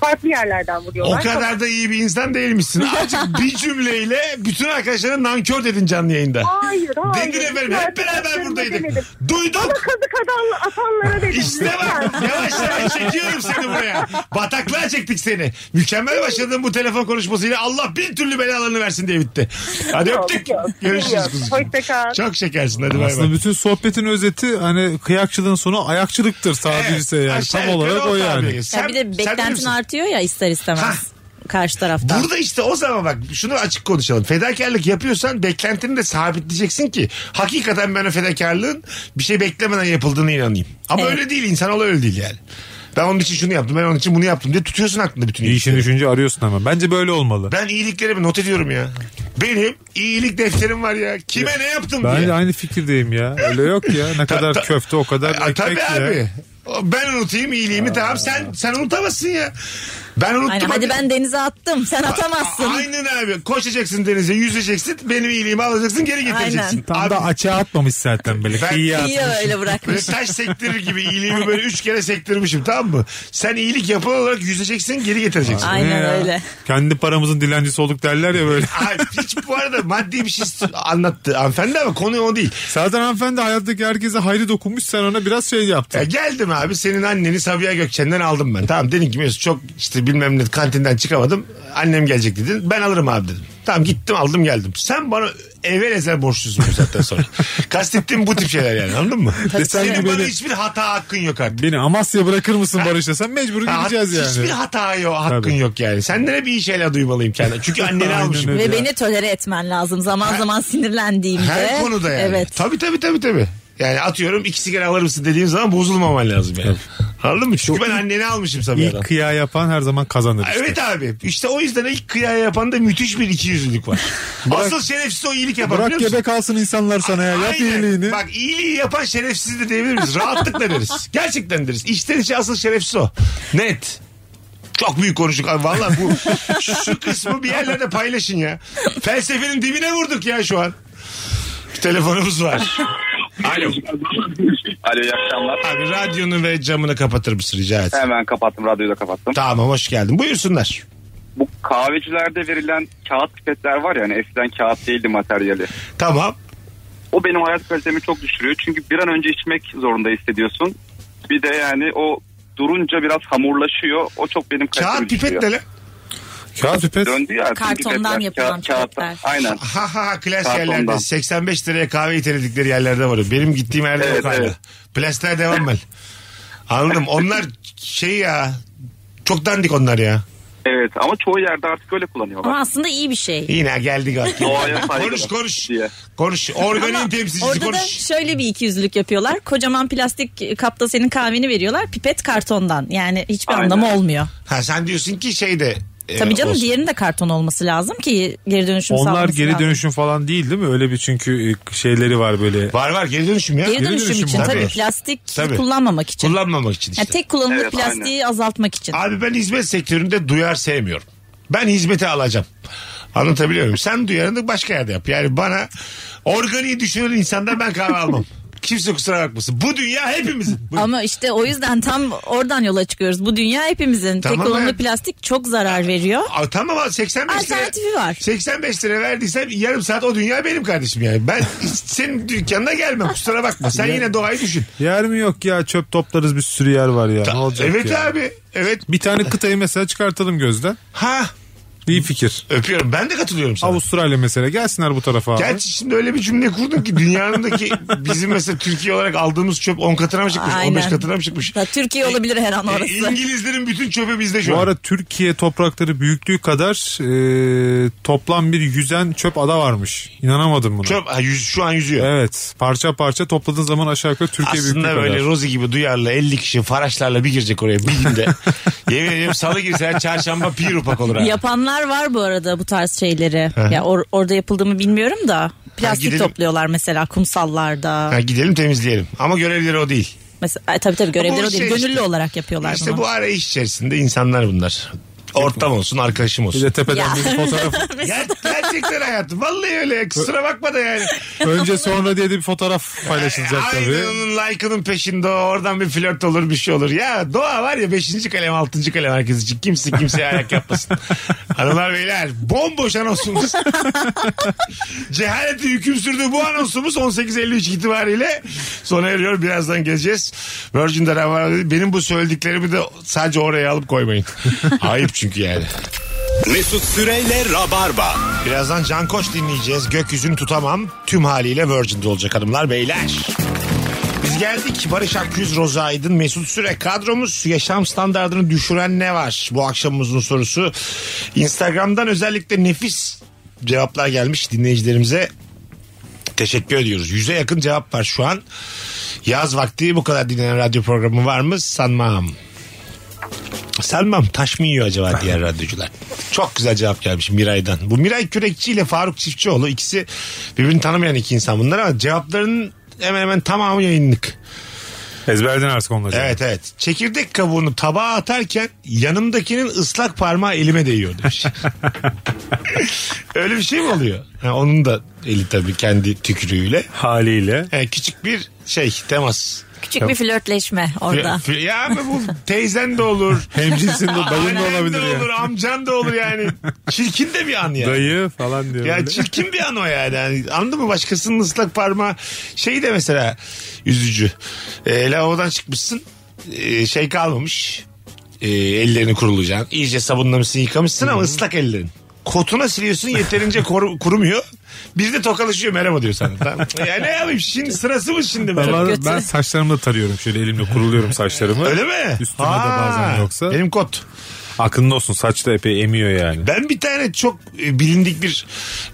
S9: Farklı yerlerden
S3: O
S9: vuruyorlar.
S3: kadar da iyi bir insan değilmişsin. Azıcık bir cümleyle bütün arkadaşlarına nankör dedin canlı yayında.
S9: Hayır, hayır.
S3: Dedin efendim hep beraber buradaydık.
S9: Ama
S3: Duyduk.
S9: kazık adam, atanlara dedim.
S3: İşte bak
S9: lütfen.
S3: yavaş yavaş çekiyorum seni buraya. Bataklığa çektik seni. Mükemmel başladığın bu telefon konuşmasıyla Allah bin türlü belalarını versin diye bitti. Hadi
S9: Yok,
S3: öptük.
S9: yok.
S3: Görüşürüz
S9: Yok.
S3: kuzucuğum.
S9: Hoşçakal.
S3: Çok şekersin hadi bay
S4: Aslında
S3: bay.
S4: bütün sohbetin özeti hani kıyakçılığın sonu ayakçılıktır tabirse
S3: Evet,
S4: yani.
S3: aşağı
S4: Tam
S3: yukarı
S4: olarak o
S3: tabiri.
S4: yani.
S5: Ya
S3: Sen-
S5: bir
S3: sen
S5: de
S3: bilir
S5: beklentin
S3: misin?
S5: artıyor ya ister istemez.
S3: Ha.
S5: Karşı taraftan.
S3: Burada işte o zaman bak şunu açık konuşalım. Fedakarlık yapıyorsan beklentini de sabitleyeceksin ki hakikaten ben o fedakarlığın bir şey beklemeden yapıldığını inanayım. Ama
S5: Evet.
S3: öyle değil insan öyle değil yani. Ben onun için şunu yaptım ben onun için bunu yaptım diye tutuyorsun aklında bütün
S4: İyi
S3: iyilikleri.
S4: işin düşünce arıyorsun ama. Bence böyle olmalı.
S3: Ben iyiliklerimi not ediyorum ya. Benim iyilik defterim var ya. Kime ne yaptım
S4: Ben
S3: diye. [laughs]
S4: de aynı fikirdeyim ya. Öyle yok ya. Ne kadar
S3: ta-
S4: köfte o kadar
S3: Ay,
S4: ekmek
S3: tabii
S4: ya.
S3: abi. O- Ben unutayım iyiliğimi tamam sen sen unutamazsın ya. Ben unuttum.
S5: Aynen, hadi ben denize attım sen atamazsın.
S3: Aynen abi. Koşacaksın denize, yüzeceksin. Benim iyiliğimi alacaksın, geri getireceksin.
S5: Aynen.
S4: Tam
S3: Abi,
S4: da açığa atmamış zaten böyle.
S3: Ben-
S4: Kıyıya
S5: İyi
S4: atmış.
S5: öyle [laughs]
S3: Böyle
S5: bırakmış.
S3: taş sektirir gibi iyiliğimi böyle üç kere sektirmişim tamam mı? Sen iyilik yapan olarak yüzeceksin, geri getireceksin.
S4: Ne
S5: Aynen
S4: ya?
S5: öyle.
S4: Kendi paramızın dilencisi olduk derler
S3: [laughs]
S4: ya böyle.
S3: Abi, hiç bu arada maddi bir şey anlattı hanımefendi ama konu o değil.
S4: Zaten hanımefendi hayattaki herkese hayrı dokunmuş sen ona biraz şey yaptın.
S3: Ya E, geldim abi senin anneni Sabiha Gökçen'den aldım ben. Tamam dedin ki Mesut çok işte bilmem ne kantinden çıkamadım. Annem gelecek dedin. Ben alırım abi dedim. Tamam gittim aldım geldim. Sen bana evvel ezel borçlusun bu saatten
S4: [laughs]
S3: sonra. Kastettiğim bu tip şeyler yani anladın mı?
S4: Desen
S3: Senin
S4: ki
S3: bana
S4: beni-
S3: hiçbir hata hakkın yok artık.
S4: Beni Amasya bırakır mısın Barış desen mecbur
S3: Ha,
S4: gideceğiz yani.
S3: Hiçbir hata yok, hakkın
S4: Tabii.
S3: yok yani. Senden hep iyi şeyler duymalıyım kendime. Çünkü anneni
S4: Aynen
S3: almışım.
S4: öyle.
S5: Ve beni tolere etmen lazım. Zaman zaman sinirlendiğimde.
S3: Her konuda yani.
S5: Evet.
S3: Tabii tabii tabii tabii. Yani atıyorum iki sigara alır mısın dediğim zaman bozulmaman lazım yani. Anladın mı? Çünkü ben anneni almışım Sabiha'dan.
S4: İlk kıya yapan her zaman kazanır işte.
S3: Evet abi. İşte o yüzden ilk kıya yapan da müthiş bir ikiyüzlülük
S4: [laughs]
S3: var. Asıl şerefsiz o iyilik yapar
S4: Bırak
S3: biliyor musun?
S4: gebe kalsın insanlar sana ya. Yap
S3: Aynen.
S4: iyiliğini.
S3: Bak iyiliği yapan şerefsiz de diyebilir miyiz? Rahatlıkla
S4: [laughs]
S3: deriz. Gerçekten deriz. İçten içe asıl şerefsiz o. Net. Çok büyük konuştuk abi. Valla bu şu kısmı bir yerlerde paylaşın ya. Felsefenin dibine vurduk ya şu an. Bir telefonumuz var. Alo.
S10: Alo iyi akşamlar.
S3: Abi radyonu ve camını kapatır mısın rica et.
S10: Hemen kapattım radyoyu da kapattım.
S3: Tamam hoş geldin. Buyursunlar.
S10: Bu kahvecilerde verilen kağıt pipetler var ya hani eskiden kağıt değildi materyali.
S3: Tamam.
S10: O benim hayat kalitemi çok düşürüyor. Çünkü bir an önce içmek zorunda hissediyorsun. Bir de yani o durunca biraz hamurlaşıyor. O çok benim kalitemi
S3: Kağıt
S10: düşürüyor.
S3: pipet ne lan?
S4: Kağıt pipet.
S10: Döndü ya. bütün
S5: Kartondan
S10: pipetler,
S5: yapılan
S10: kağıt- kağıtlar.
S5: pipetler.
S10: Aynen.
S3: [laughs] Ha ha ha klas
S10: Saat
S3: yerlerde.
S10: ondan.
S3: 85 liraya kahve iteledikleri yerlerde var. o. Benim gittiğim yerde
S10: Evet,
S3: yok hala.
S10: evet.
S3: Plastikler devam ben. Anladım. Onlar şey ya. Çok dandik onlar ya.
S10: Evet ama çoğu yerde artık öyle kullanıyorlar.
S5: Ama aslında iyi bir şey.
S3: Yine geldik artık.
S10: Doğaya saygı
S3: konuş
S10: var
S3: konuş.
S10: diye.
S3: Konuş. Organin
S5: Ama
S3: temsilcisi
S5: orada da
S3: konuş.
S5: şöyle bir ikiyüzlülük yapıyorlar. Kocaman plastik kapta senin kahveni veriyorlar. Pipet kartondan. Yani hiçbir
S10: Aynen.
S5: anlamı olmuyor.
S3: Ha sen diyorsun ki şeyde. e,
S5: Tabii canım
S3: olsun.
S5: diğerinin de karton olması lazım ki geri dönüşüm
S4: Onlar
S5: sağlaması
S4: geri
S5: lazım.
S4: dönüşüm falan değil değil mi? Öyle bir çünkü e, şeyleri var böyle.
S3: Var var geri dönüşüm ya.
S5: Geri dönüşüm, için
S3: var.
S5: tabii, plastik
S3: Tabii.
S5: kullanmamak için.
S3: Kullanmamak için işte.
S5: Yani tek kullanımlık
S10: Evet,
S5: plastiği azaltmak için.
S3: Abi ben hizmet sektöründe duyar sevmiyorum. Ben hizmete alacağım. Anlatabiliyor muyum? Sen duyarını başka yerde yap. Yani bana organiği düşünen insandan ben kahve almam. Kimse kusura bakmasın. Bu dünya hepimizin. Bu-
S5: Ama işte o yüzden tam oradan yola çıkıyoruz. Bu dünya hepimizin.
S3: Tamam
S5: tek kullanımlı
S3: hayat-
S5: plastik çok zarar veriyor.
S3: Aa, tamam ama 85 lira.
S5: Alternatifi
S3: [laughs]
S5: var.
S3: 85 lira verdiysem yarım saat o dünya benim kardeşim yani. Ben senin dükkanına gelmem kusura bakma. Sen yine doğayı düşün.
S4: Yer mi yok ya çöp toplarız bir sürü yer var ya. ne olacak
S3: evet
S4: ya?
S3: abi. Evet.
S4: Bir tane kıtayı mesela çıkartalım gözden.
S3: Ha
S4: İyi fikir.
S3: öpüyorum. Ben de katılıyorum sana.
S4: Avustralya mesela gelsinler bu tarafa abi.
S3: Gerçi şimdi öyle bir cümle kurdum ki
S5: [laughs]
S3: dünyanındaki bizim mesela Türkiye olarak aldığımız çöp 10 katına mı çıkmış?
S5: Aynen.
S3: 15 katına mı çıkmış?
S5: Ya Türkiye olabilir her an
S3: E,
S5: orası.
S3: İngilizlerin bütün çöpü bizde şu
S4: Bu
S3: an.
S4: ara Türkiye toprakları büyüklüğü kadar e, toplam bir yüzen çöp ada varmış. İnanamadım buna.
S3: Çöp ha, yüz, şu an yüzüyor.
S4: Evet. Parça parça topladığın zaman aşağı yukarı Türkiye
S3: Aslında
S4: büyüklüğü
S3: böyle
S4: kadar.
S3: Rozi gibi duyarlı 50 kişi faraşlarla bir girecek oraya bir
S5: [laughs]
S3: günde. Yemin ediyorum salı girse çarşamba pir upak olur. ha.
S5: Yapanlar var bu arada bu tarz şeyleri. ya or- orada yapıldığımı bilmiyorum da. Plastik
S3: gidelim.
S5: topluyorlar mesela kumsallarda.
S3: Ha, gidelim temizleyelim. Ama görevleri o değil.
S5: Mesela ay, tabii tabii görevleri
S3: Bu
S5: o değil.
S3: şey
S5: Gönüllü
S3: işte.
S5: olarak yapıyorlar
S3: İşte
S5: bunu.
S3: bu ara iş içerisinde insanlar bunlar. Ortam olsun, arkadaşım
S4: Bir de
S3: olsun.
S5: Ya.
S4: tepeden bir fotoğraf.
S5: [laughs]
S3: Ger- gerçekten hayatım. Vallahi öyle. Kusura bakma da yani.
S4: Önce sonra diye de bir fotoğraf paylaşılacak tabii.
S3: Aynen onun like'ının peşinde o. oradan bir flört olur bir şey olur. Ya doğa var ya 5. kalem 6. kalem herkes için. Kimse kimseye ayak
S4: [laughs]
S3: yapmasın. Hanımlar beyler bomboş anonsumuz. [laughs] Cehaleti hüküm sürdü bu anonsumuz 18.53 itibariyle sona eriyor. Birazdan geleceğiz. Virgin'de Rabarba- benim bu söylediklerimi de sadece oraya alıp
S4: [laughs]
S3: koymayın. Ayıp çünkü yani.
S2: Mesut Süreyle Rabarba.
S3: Birazdan Can Koç dinleyeceğiz. Gökyüzünü tutamam. Tüm haliyle Virgin'de olacak hanımlar beyler. Biz geldik. Barış Akyüz, Roza Aydın, Mesut Süre kadromuz. Yaşam standartını düşüren ne var? Bu akşamımızın sorusu. Instagram'dan özellikle nefis cevaplar gelmiş dinleyicilerimize. Teşekkür ediyoruz. Yüze yakın cevap var şu an. Yaz vakti bu kadar dinlenen radyo programı var mı? Sanmam. Sanmam taş mı yiyor acaba diğer radyocular? Çok güzel cevap gelmiş Miray'dan. Bu Miray Kürekçi ile Faruk Çiftçioğlu ikisi birbirini tanımayan iki insan bunlar ama cevaplarının hemen hemen tamamı yayınlık.
S4: Ezberden artık onları.
S3: Evet evet. Çekirdek kabuğunu tabağa atarken yanımdakinin ıslak parmağı elime değiyor demiş. Öyle bir şey mi oluyor? Ha, onun da eli tabii kendi tükürüğüyle.
S4: Haliyle.
S3: Ha, küçük bir şey temas.
S5: Küçük bir flörtleşme orada.
S3: Fi- Ya abi bu teyzen de
S4: [laughs]
S3: olur.
S4: Hemcinsin de dayın da
S3: Annen
S4: olabilir
S3: de olur,
S4: ya.
S3: amcan da olur yani. Çirkin de bir an yani.
S4: Dayı falan diyor.
S3: Ya
S4: böyle.
S3: çirkin bir an o yani. yani. Anladın mı? Başkasının ıslak parmağı şey de mesela üzücü. E, lavabodan çıkmışsın. e, şey kalmamış. E, ellerini kurulacaksın. İyice sabunlamışsın yıkamışsın ama ıslak ellerin. Kotuna siliyorsun yeterince koru- kurumuyor. Bir de tokalaşıyor merhaba diyor sana. Tamam. Ya ne yapayım şimdi sırası mı şimdi?
S4: Ben,
S3: merhaba?
S5: kötü.
S4: ben saçlarımı da tarıyorum şöyle elimle kuruluyorum saçlarımı.
S3: Öyle mi?
S4: Üstüme de bazen yoksa.
S3: Benim kot.
S4: Aklında olsun saç da epey emiyor yani.
S3: Ben bir tane çok e, bilindik bir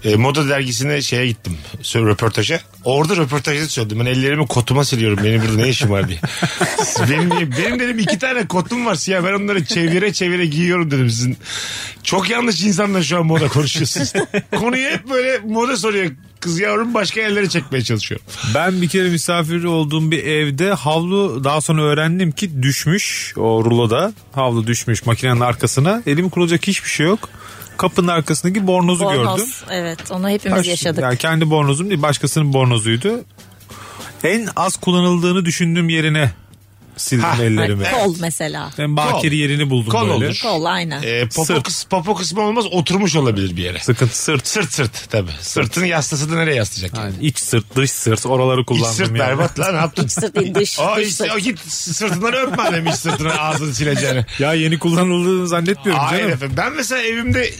S3: e, moda dergisine şeye gittim. sö- Röportaja. Orada röportajda söyledim. Ben ellerimi kotuma siliyorum. Benim burada ne işim var
S4: [laughs]
S3: diye. benim, benim dedim iki tane kotum var siyah. Ben onları çevire çevire giyiyorum dedim sizin. Çok yanlış insanla şu an moda
S4: [laughs]
S3: konuşuyorsunuz. Konuyu hep böyle moda soruyor. Kız yavrum başka yerlere çekmeye çalışıyor.
S4: Ben bir kere misafir olduğum bir evde havlu daha sonra öğrendim ki düşmüş o ruloda. Havlu düşmüş makinenin arkasına. Elimi kurulacak hiçbir şey yok. Kapının arkasındaki bornozu
S5: Bornoz.
S4: gördüm.
S5: Evet onu hepimiz
S4: Baş-
S5: yaşadık.
S4: Yani kendi bornozum değil başkasının bornozuydu. En az kullanıldığını düşündüğüm yerine sildim
S3: Ha,
S4: ellerimi.
S5: Ay, Kol mesela.
S4: Ben bakiri yerini buldum
S3: Kol
S4: böyle.
S3: olur.
S5: Kol aynen.
S3: E, popo,
S4: Sırt.
S3: kıs- popo kısmı olmaz oturmuş olabilir bir yere.
S4: Sıkıntı sırt.
S3: Sırt sırt tabii. Sırtın yastası da nereye yaslayacak? Yani?
S4: Yani iç sırt dış sırt oraları
S3: İç
S4: kullandım.
S3: sırt
S4: yani.
S3: berbat lan ne yaptın?
S5: Sırt değil, dış,
S3: O,
S5: dış
S3: işte,
S5: sırt.
S3: o git sırtından öpme annem hiç sırtını ağzını
S4: [laughs]
S3: sileceğini.
S4: Ya yeni kullanıldığını zannetmiyorum
S3: Hayır
S4: canım.
S3: efendim. Ben mesela evimde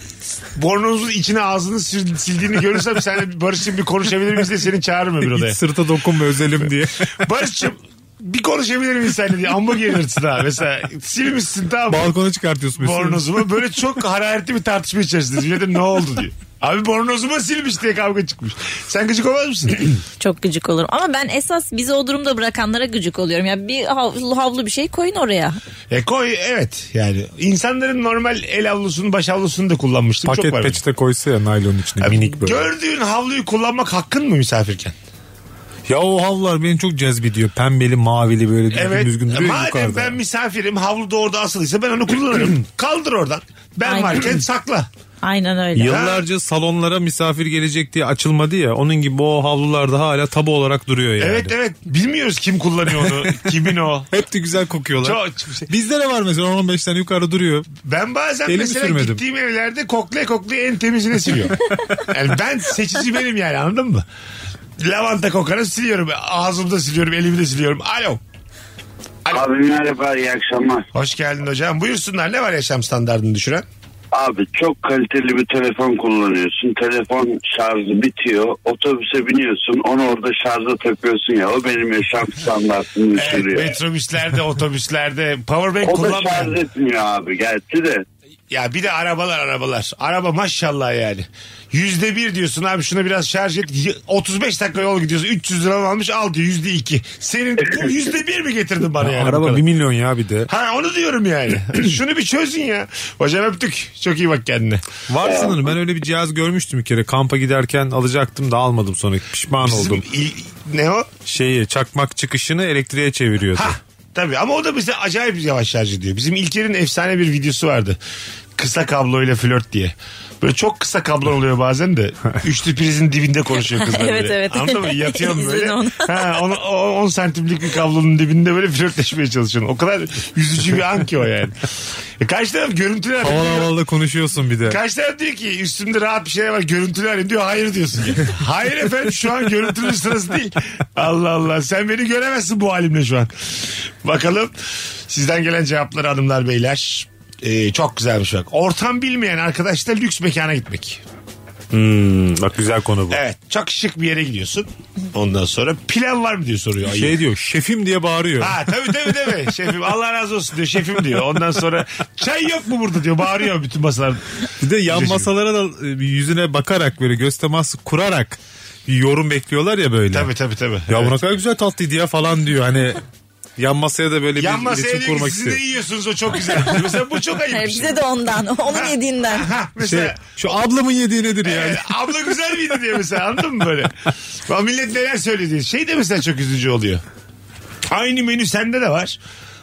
S3: bornozun içine ağzını sil- sildiğini görürsem senle Barış'cığım bir konuşabilir miyiz diye seni çağırırım bir odaya.
S4: İç sırta dokunma özelim diye.
S3: [laughs] Barış'cığım bir konuşabilir miyiz seninle diye amma gelirsin ha. Mesela silmişsin tamam mı?
S4: Balkona çıkartıyorsun mesela.
S3: bornozumu. Böyle çok hararetli bir tartışma içerisindeyiz. Bir de ne oldu diyor. Abi bornozuma silmiş diye kavga çıkmış. Sen gıcık olmaz mısın?
S5: Çok gıcık olurum. Ama ben esas bizi o durumda bırakanlara gıcık oluyorum. Ya bir havlu, havlu bir şey koyun oraya.
S3: e koy evet yani. insanların normal el havlusunu baş havlusunu da kullanmıştım. çok
S4: Paket
S3: var.
S4: peçete koysa ya naylonun içine
S3: benim.
S4: minik böyle.
S3: Gördüğün havluyu kullanmak hakkın mı misafirken?
S4: Ya o havlular beni çok cezbediyor. Pembeli mavili böyle düzgün
S3: Evet. E,
S4: düzgün duruyor
S3: Madem
S4: yukarıda.
S3: ben misafirim havlu da orada asılıysa ben onu
S4: [clears throat]
S3: kullanırım. Kaldır oradan. Ben
S5: Aynen.
S3: varken sakla.
S5: Aynen öyle.
S4: Yıllarca salonlara misafir gelecek diye açılmadı ya. Onun gibi o havlular da hala tabu olarak duruyor yani.
S3: Evet evet. Bilmiyoruz kim kullanıyor
S4: [laughs]
S3: onu. kimin o.
S4: Hep de güzel kokuyorlar.
S3: Çok- şey.
S4: Bizde de var mesela 10-15 tane yukarı duruyor.
S3: Ben bazen
S4: Elimi
S3: mesela
S4: sürmedim.
S3: gittiğim evlerde koklaya koklaya en temizini
S4: [laughs]
S3: siliyorum. yani ben seçici benim yani anladın mı? Lavanta kokanı siliyorum. Ağzımda siliyorum, elimde siliyorum. Alo.
S10: Abi merhaba iyi akşamlar.
S3: Hoş geldin hocam. Buyursunlar ne var yaşam standartını düşüren?
S10: Abi çok kaliteli bir telefon kullanıyorsun. Telefon şarjı bitiyor. Otobüse biniyorsun. Onu orada şarja takıyorsun ya. O benim yaşam standartını
S3: Evet,
S10: düşürüyor.
S3: [laughs] metrobüslerde, otobüslerde powerbank
S10: o da şarj
S3: kullanmayan.
S10: etmiyor abi gerçi de.
S3: Ya bir de arabalar arabalar. Araba maşallah yani. Yüzde bir diyorsun abi şuna biraz şarj et. Y- 35 dakika yol gidiyorsun. 300 lira almış al diyor yüzde iki.
S10: [laughs]
S3: Senin bu yüzde bir mi getirdin bana yani? bu
S4: Araba
S3: kadar?
S4: 1 milyon ya bir de.
S3: Ha onu diyorum [laughs] yani. Şunu bir çözün ya. Hocam öptük. Çok iyi bak kendine.
S4: Var sanırım ben öyle bir cihaz görmüştüm bir kere. Kampa giderken alacaktım da almadım sonra pişman
S3: Bizim
S4: oldum.
S3: il- ne o?
S4: Şeyi çakmak çıkışını elektriğe çeviriyordu.
S3: Ha tabii ama o da bize acayip yavaş şarj ediyor. Bizim İlker'in efsane bir videosu vardı. Kısa kabloyla flört diye. Böyle çok kısa kablo oluyor bazen de. Üçlü prizin dibinde konuşuyor kızlar.
S5: Evet,
S3: böyle.
S5: evet.
S3: Anladın
S5: [laughs]
S3: mı? Yatıyorum böyle.
S5: İzledim onu.
S3: Ha, on, o- on santimlik bir kablonun dibinde böyle flörtleşmeye çalışıyorsun. O kadar yüzücü bir an ki o yani. E, karşı taraf görüntüler.
S4: Havalı havalı da konuşuyorsun bir de.
S3: Kaç tane diyor ki üstümde rahat bir şeyler var görüntülü halim diyor hayır diyorsun. [laughs] ya. hayır efendim şu an görüntülü sırası değil. Allah Allah sen beni göremezsin bu halimle şu an. Bakalım sizden gelen cevapları hanımlar beyler. Ee, çok güzelmiş bak. Ortam bilmeyen arkadaşla lüks mekana gitmek.
S4: Hmm, bak güzel konu bu.
S3: Evet çok şık bir yere gidiyorsun. Ondan sonra plan var mı diyor soruyor. ayı.
S4: Şey diyor şefim diye bağırıyor.
S3: Ha tabii tabii tabii. Şefim Allah razı olsun diyor. Şefim diyor. Ondan sonra çay yok mu burada diyor. Bağırıyor bütün masalar.
S4: [laughs] Bir de yan
S3: Güzel
S4: masalara da e, yüzüne bakarak böyle göz teması kurarak bir yorum bekliyorlar ya böyle.
S3: Tabii tabii tabii.
S4: Ya
S3: Evet.
S4: bu ne kadar güzel tatlıydı ya falan diyor hani yan masaya da böyle
S3: Yan
S4: bir
S3: masaya
S4: iletişim
S3: diyor ki
S4: kurmak
S3: siz de
S4: istiyor.
S3: yiyorsunuz o çok güzel. Mesela bu çok
S5: [laughs]
S3: ayıp.
S5: Hayır,
S3: bir şey.
S5: E, bize de ondan. Onun
S3: [laughs]
S5: yediğinden.
S3: Ha,
S4: Şey,
S3: mesela
S4: şu ablamın yediği nedir Şey, yani?
S3: e,
S4: [laughs]
S3: abla güzel miydi diye mesela anladın mı böyle? Ya millet neler söyledi. Şey de mesela çok üzücü oluyor. Aynı menü sende de var.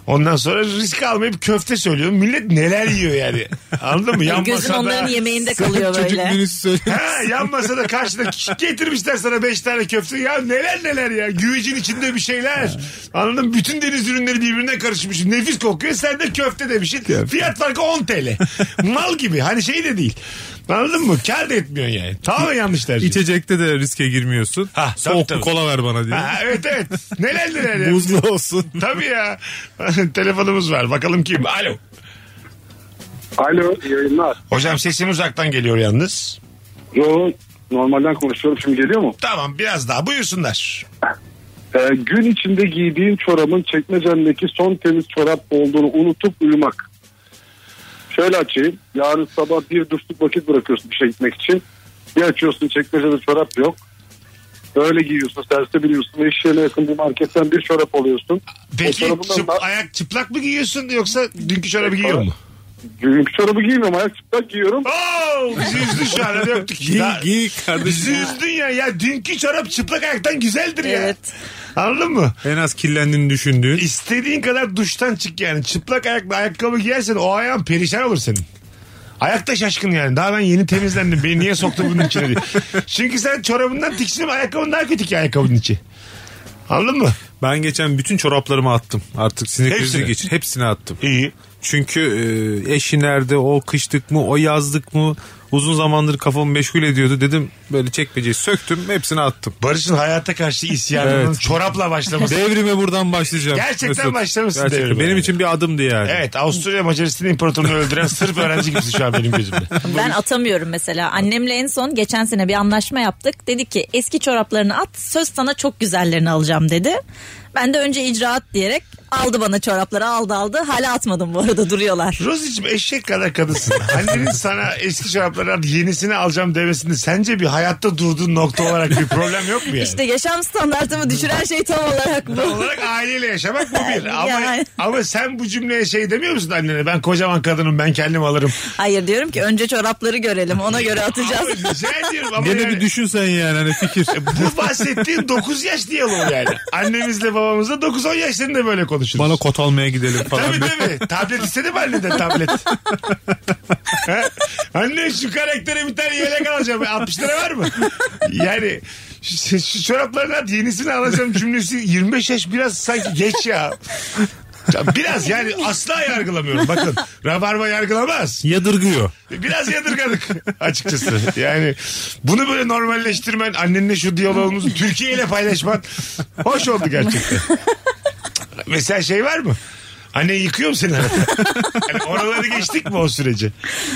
S3: Ondan sonra risk almayıp köfte söylüyorum. Millet neler yiyor yani. Anladın mı? Yan
S5: Gözün
S3: masada-
S5: onların yemeğinde kalıyor
S4: Hani Çocuk
S5: böyle.
S4: menüsü
S3: [laughs]
S4: söylüyor.
S3: Ha, yan masada karşına getirmişler sana beş tane köfte. Ya neler neler ya. Güvecin içinde bir şeyler. Anladın mı? Bütün deniz ürünleri birbirine karışmış. Nefis kokuyor. Sen de köfte demişsin. Fiyat farkı 10 TL. Mal gibi. Hani şey de değil. Anladın mı? Kar da etmiyorsun yani. Tamamen yanlış tercih.
S4: İçecekte de riske girmiyorsun.
S3: Ha, tabii,
S4: Soğuk
S3: tabii.
S4: bir kola ver bana diyor.
S3: Ha, evet evet. Neler neler ya.
S4: Buzlu olsun.
S3: Tabii ya. [laughs] Telefonumuz var. Bakalım kim? Alo.
S8: Alo iyi yayınlar.
S3: Hocam sesin uzaktan geliyor yalnız.
S8: Yo normalden konuşuyorum şimdi geliyor mu?
S3: Tamam biraz daha buyursunlar.
S8: Ee, gün içinde giydiğin çorabın çekmecendeki son temiz çorap olduğunu unutup uyumak.
S11: Şöyle açayım. Yarın sabah bir duşluk vakit bırakıyorsun işe gitmek için. Bir açıyorsun çekmecede çorap yok. Böyle giyiyorsun, serse biliyorsun ve iş yerine yakın bir marketten bir çorap alıyorsun.
S3: Peki
S11: O çorabından
S3: çıp- ayak çıplak mı giyiyorsun yoksa dünkü çorabı giyiyor mu?
S11: Dünkü çorabı giymiyorum, ayak çıplak giyiyorum.
S3: Oo, bizi üzdün şu an. Hadi öptük.
S4: Giy
S3: Daha-
S4: giy
S3: Bizi
S4: kardeşim.
S3: üzdün ya. Ya dünkü çorap çıplak ayaktan güzeldir ya.
S5: Evet.
S3: Anladın mı?
S4: en az kirlendiğini düşündüğün.
S3: İstediğin kadar duştan çık yani. Çıplak ayakla ayakkabı giyersen o ayağın perişan olur senin. Ayakta şaşkın yani. Daha ben yeni temizlendim. Beni niye soktu bunun içine
S4: [laughs]
S3: diye. Çünkü sen çorabından tiksinip ayakkabın daha kötü ki ayakkabının içi. Anladın mı?
S4: Ben geçen bütün çoraplarımı attım. Artık sinir krizi
S3: Hepsini?
S4: geçir. Hepsini attım.
S3: İyi.
S4: Çünkü e, eşi nerede o kışlık mı o yazlık mı uzun zamandır kafamı meşgul ediyordu. Dedim böyle çekmeceyi söktüm hepsini attım.
S3: Barış'ın hayata karşı isyanının
S4: Evet.
S3: çorapla başlaması.
S4: Devrime buradan başlayacağım.
S3: Gerçekten başlamışsın
S4: Gerçekten.
S3: devrime.
S4: Benim için bir adımdı yani.
S3: Evet Avusturya Macaristan imparatorunu öldüren [laughs] Sırp öğrenci gibisin şu an benim gözümde.
S5: Ben atamıyorum mesela. Annemle en son geçen sene bir anlaşma yaptık. Dedi ki eski çoraplarını at söz sana çok güzellerini alacağım dedi. Ben de önce icraat diyerek aldı bana çorapları aldı aldı. Hala atmadım bu arada duruyorlar.
S3: Rosicim eşek kadar kadınsın. Annenin sana eski çoraplardan yenisini alacağım demesinde sence bir hayatta durduğun nokta olarak bir problem yok mu yani?
S5: İşte yaşam standartımı düşüren şey tam olarak
S3: Tam
S5: bu.
S3: olarak aileyle yaşamak bu bir. Ama,
S5: Yani.
S3: ama sen bu cümleye şey demiyor musun annene? Ben kocaman kadınım ben kendim alırım.
S5: Hayır diyorum ki önce çorapları görelim ona göre atacağız.
S3: Ama rica ediyorum ama
S4: Gene
S3: yani-
S4: bir düşünsen yani hani
S3: [laughs]
S4: fikir.
S3: bu bahsettiğin 9 yaş diye olur yani. Annemizle babamızla 9-10 yaşlarında böyle konuşuruz.
S4: Bana kot almaya gidelim falan.
S3: Tabii tabii. Tablet istedi mi anneden tablet? Ha? Anne şu karaktere bir tane yelek alacağım. 60 lira var mı? Yani şu, şu çoraplarını at yenisini alacağım cümlesi 25 yaş biraz sanki geç ya. Ya Biraz yani asla yargılamıyorum. Bakın Rabarba yargılamaz.
S4: Yadırgıyor.
S3: Biraz yadırgadık açıkçası. Yani bunu böyle normalleştirmen, annenle şu diyalogumuzu Türkiye ile paylaşman hoş oldu gerçekten. Mesela şey var mı? Anne yıkıyor mu seni arada? Yani oraları geçtik mi o süreci?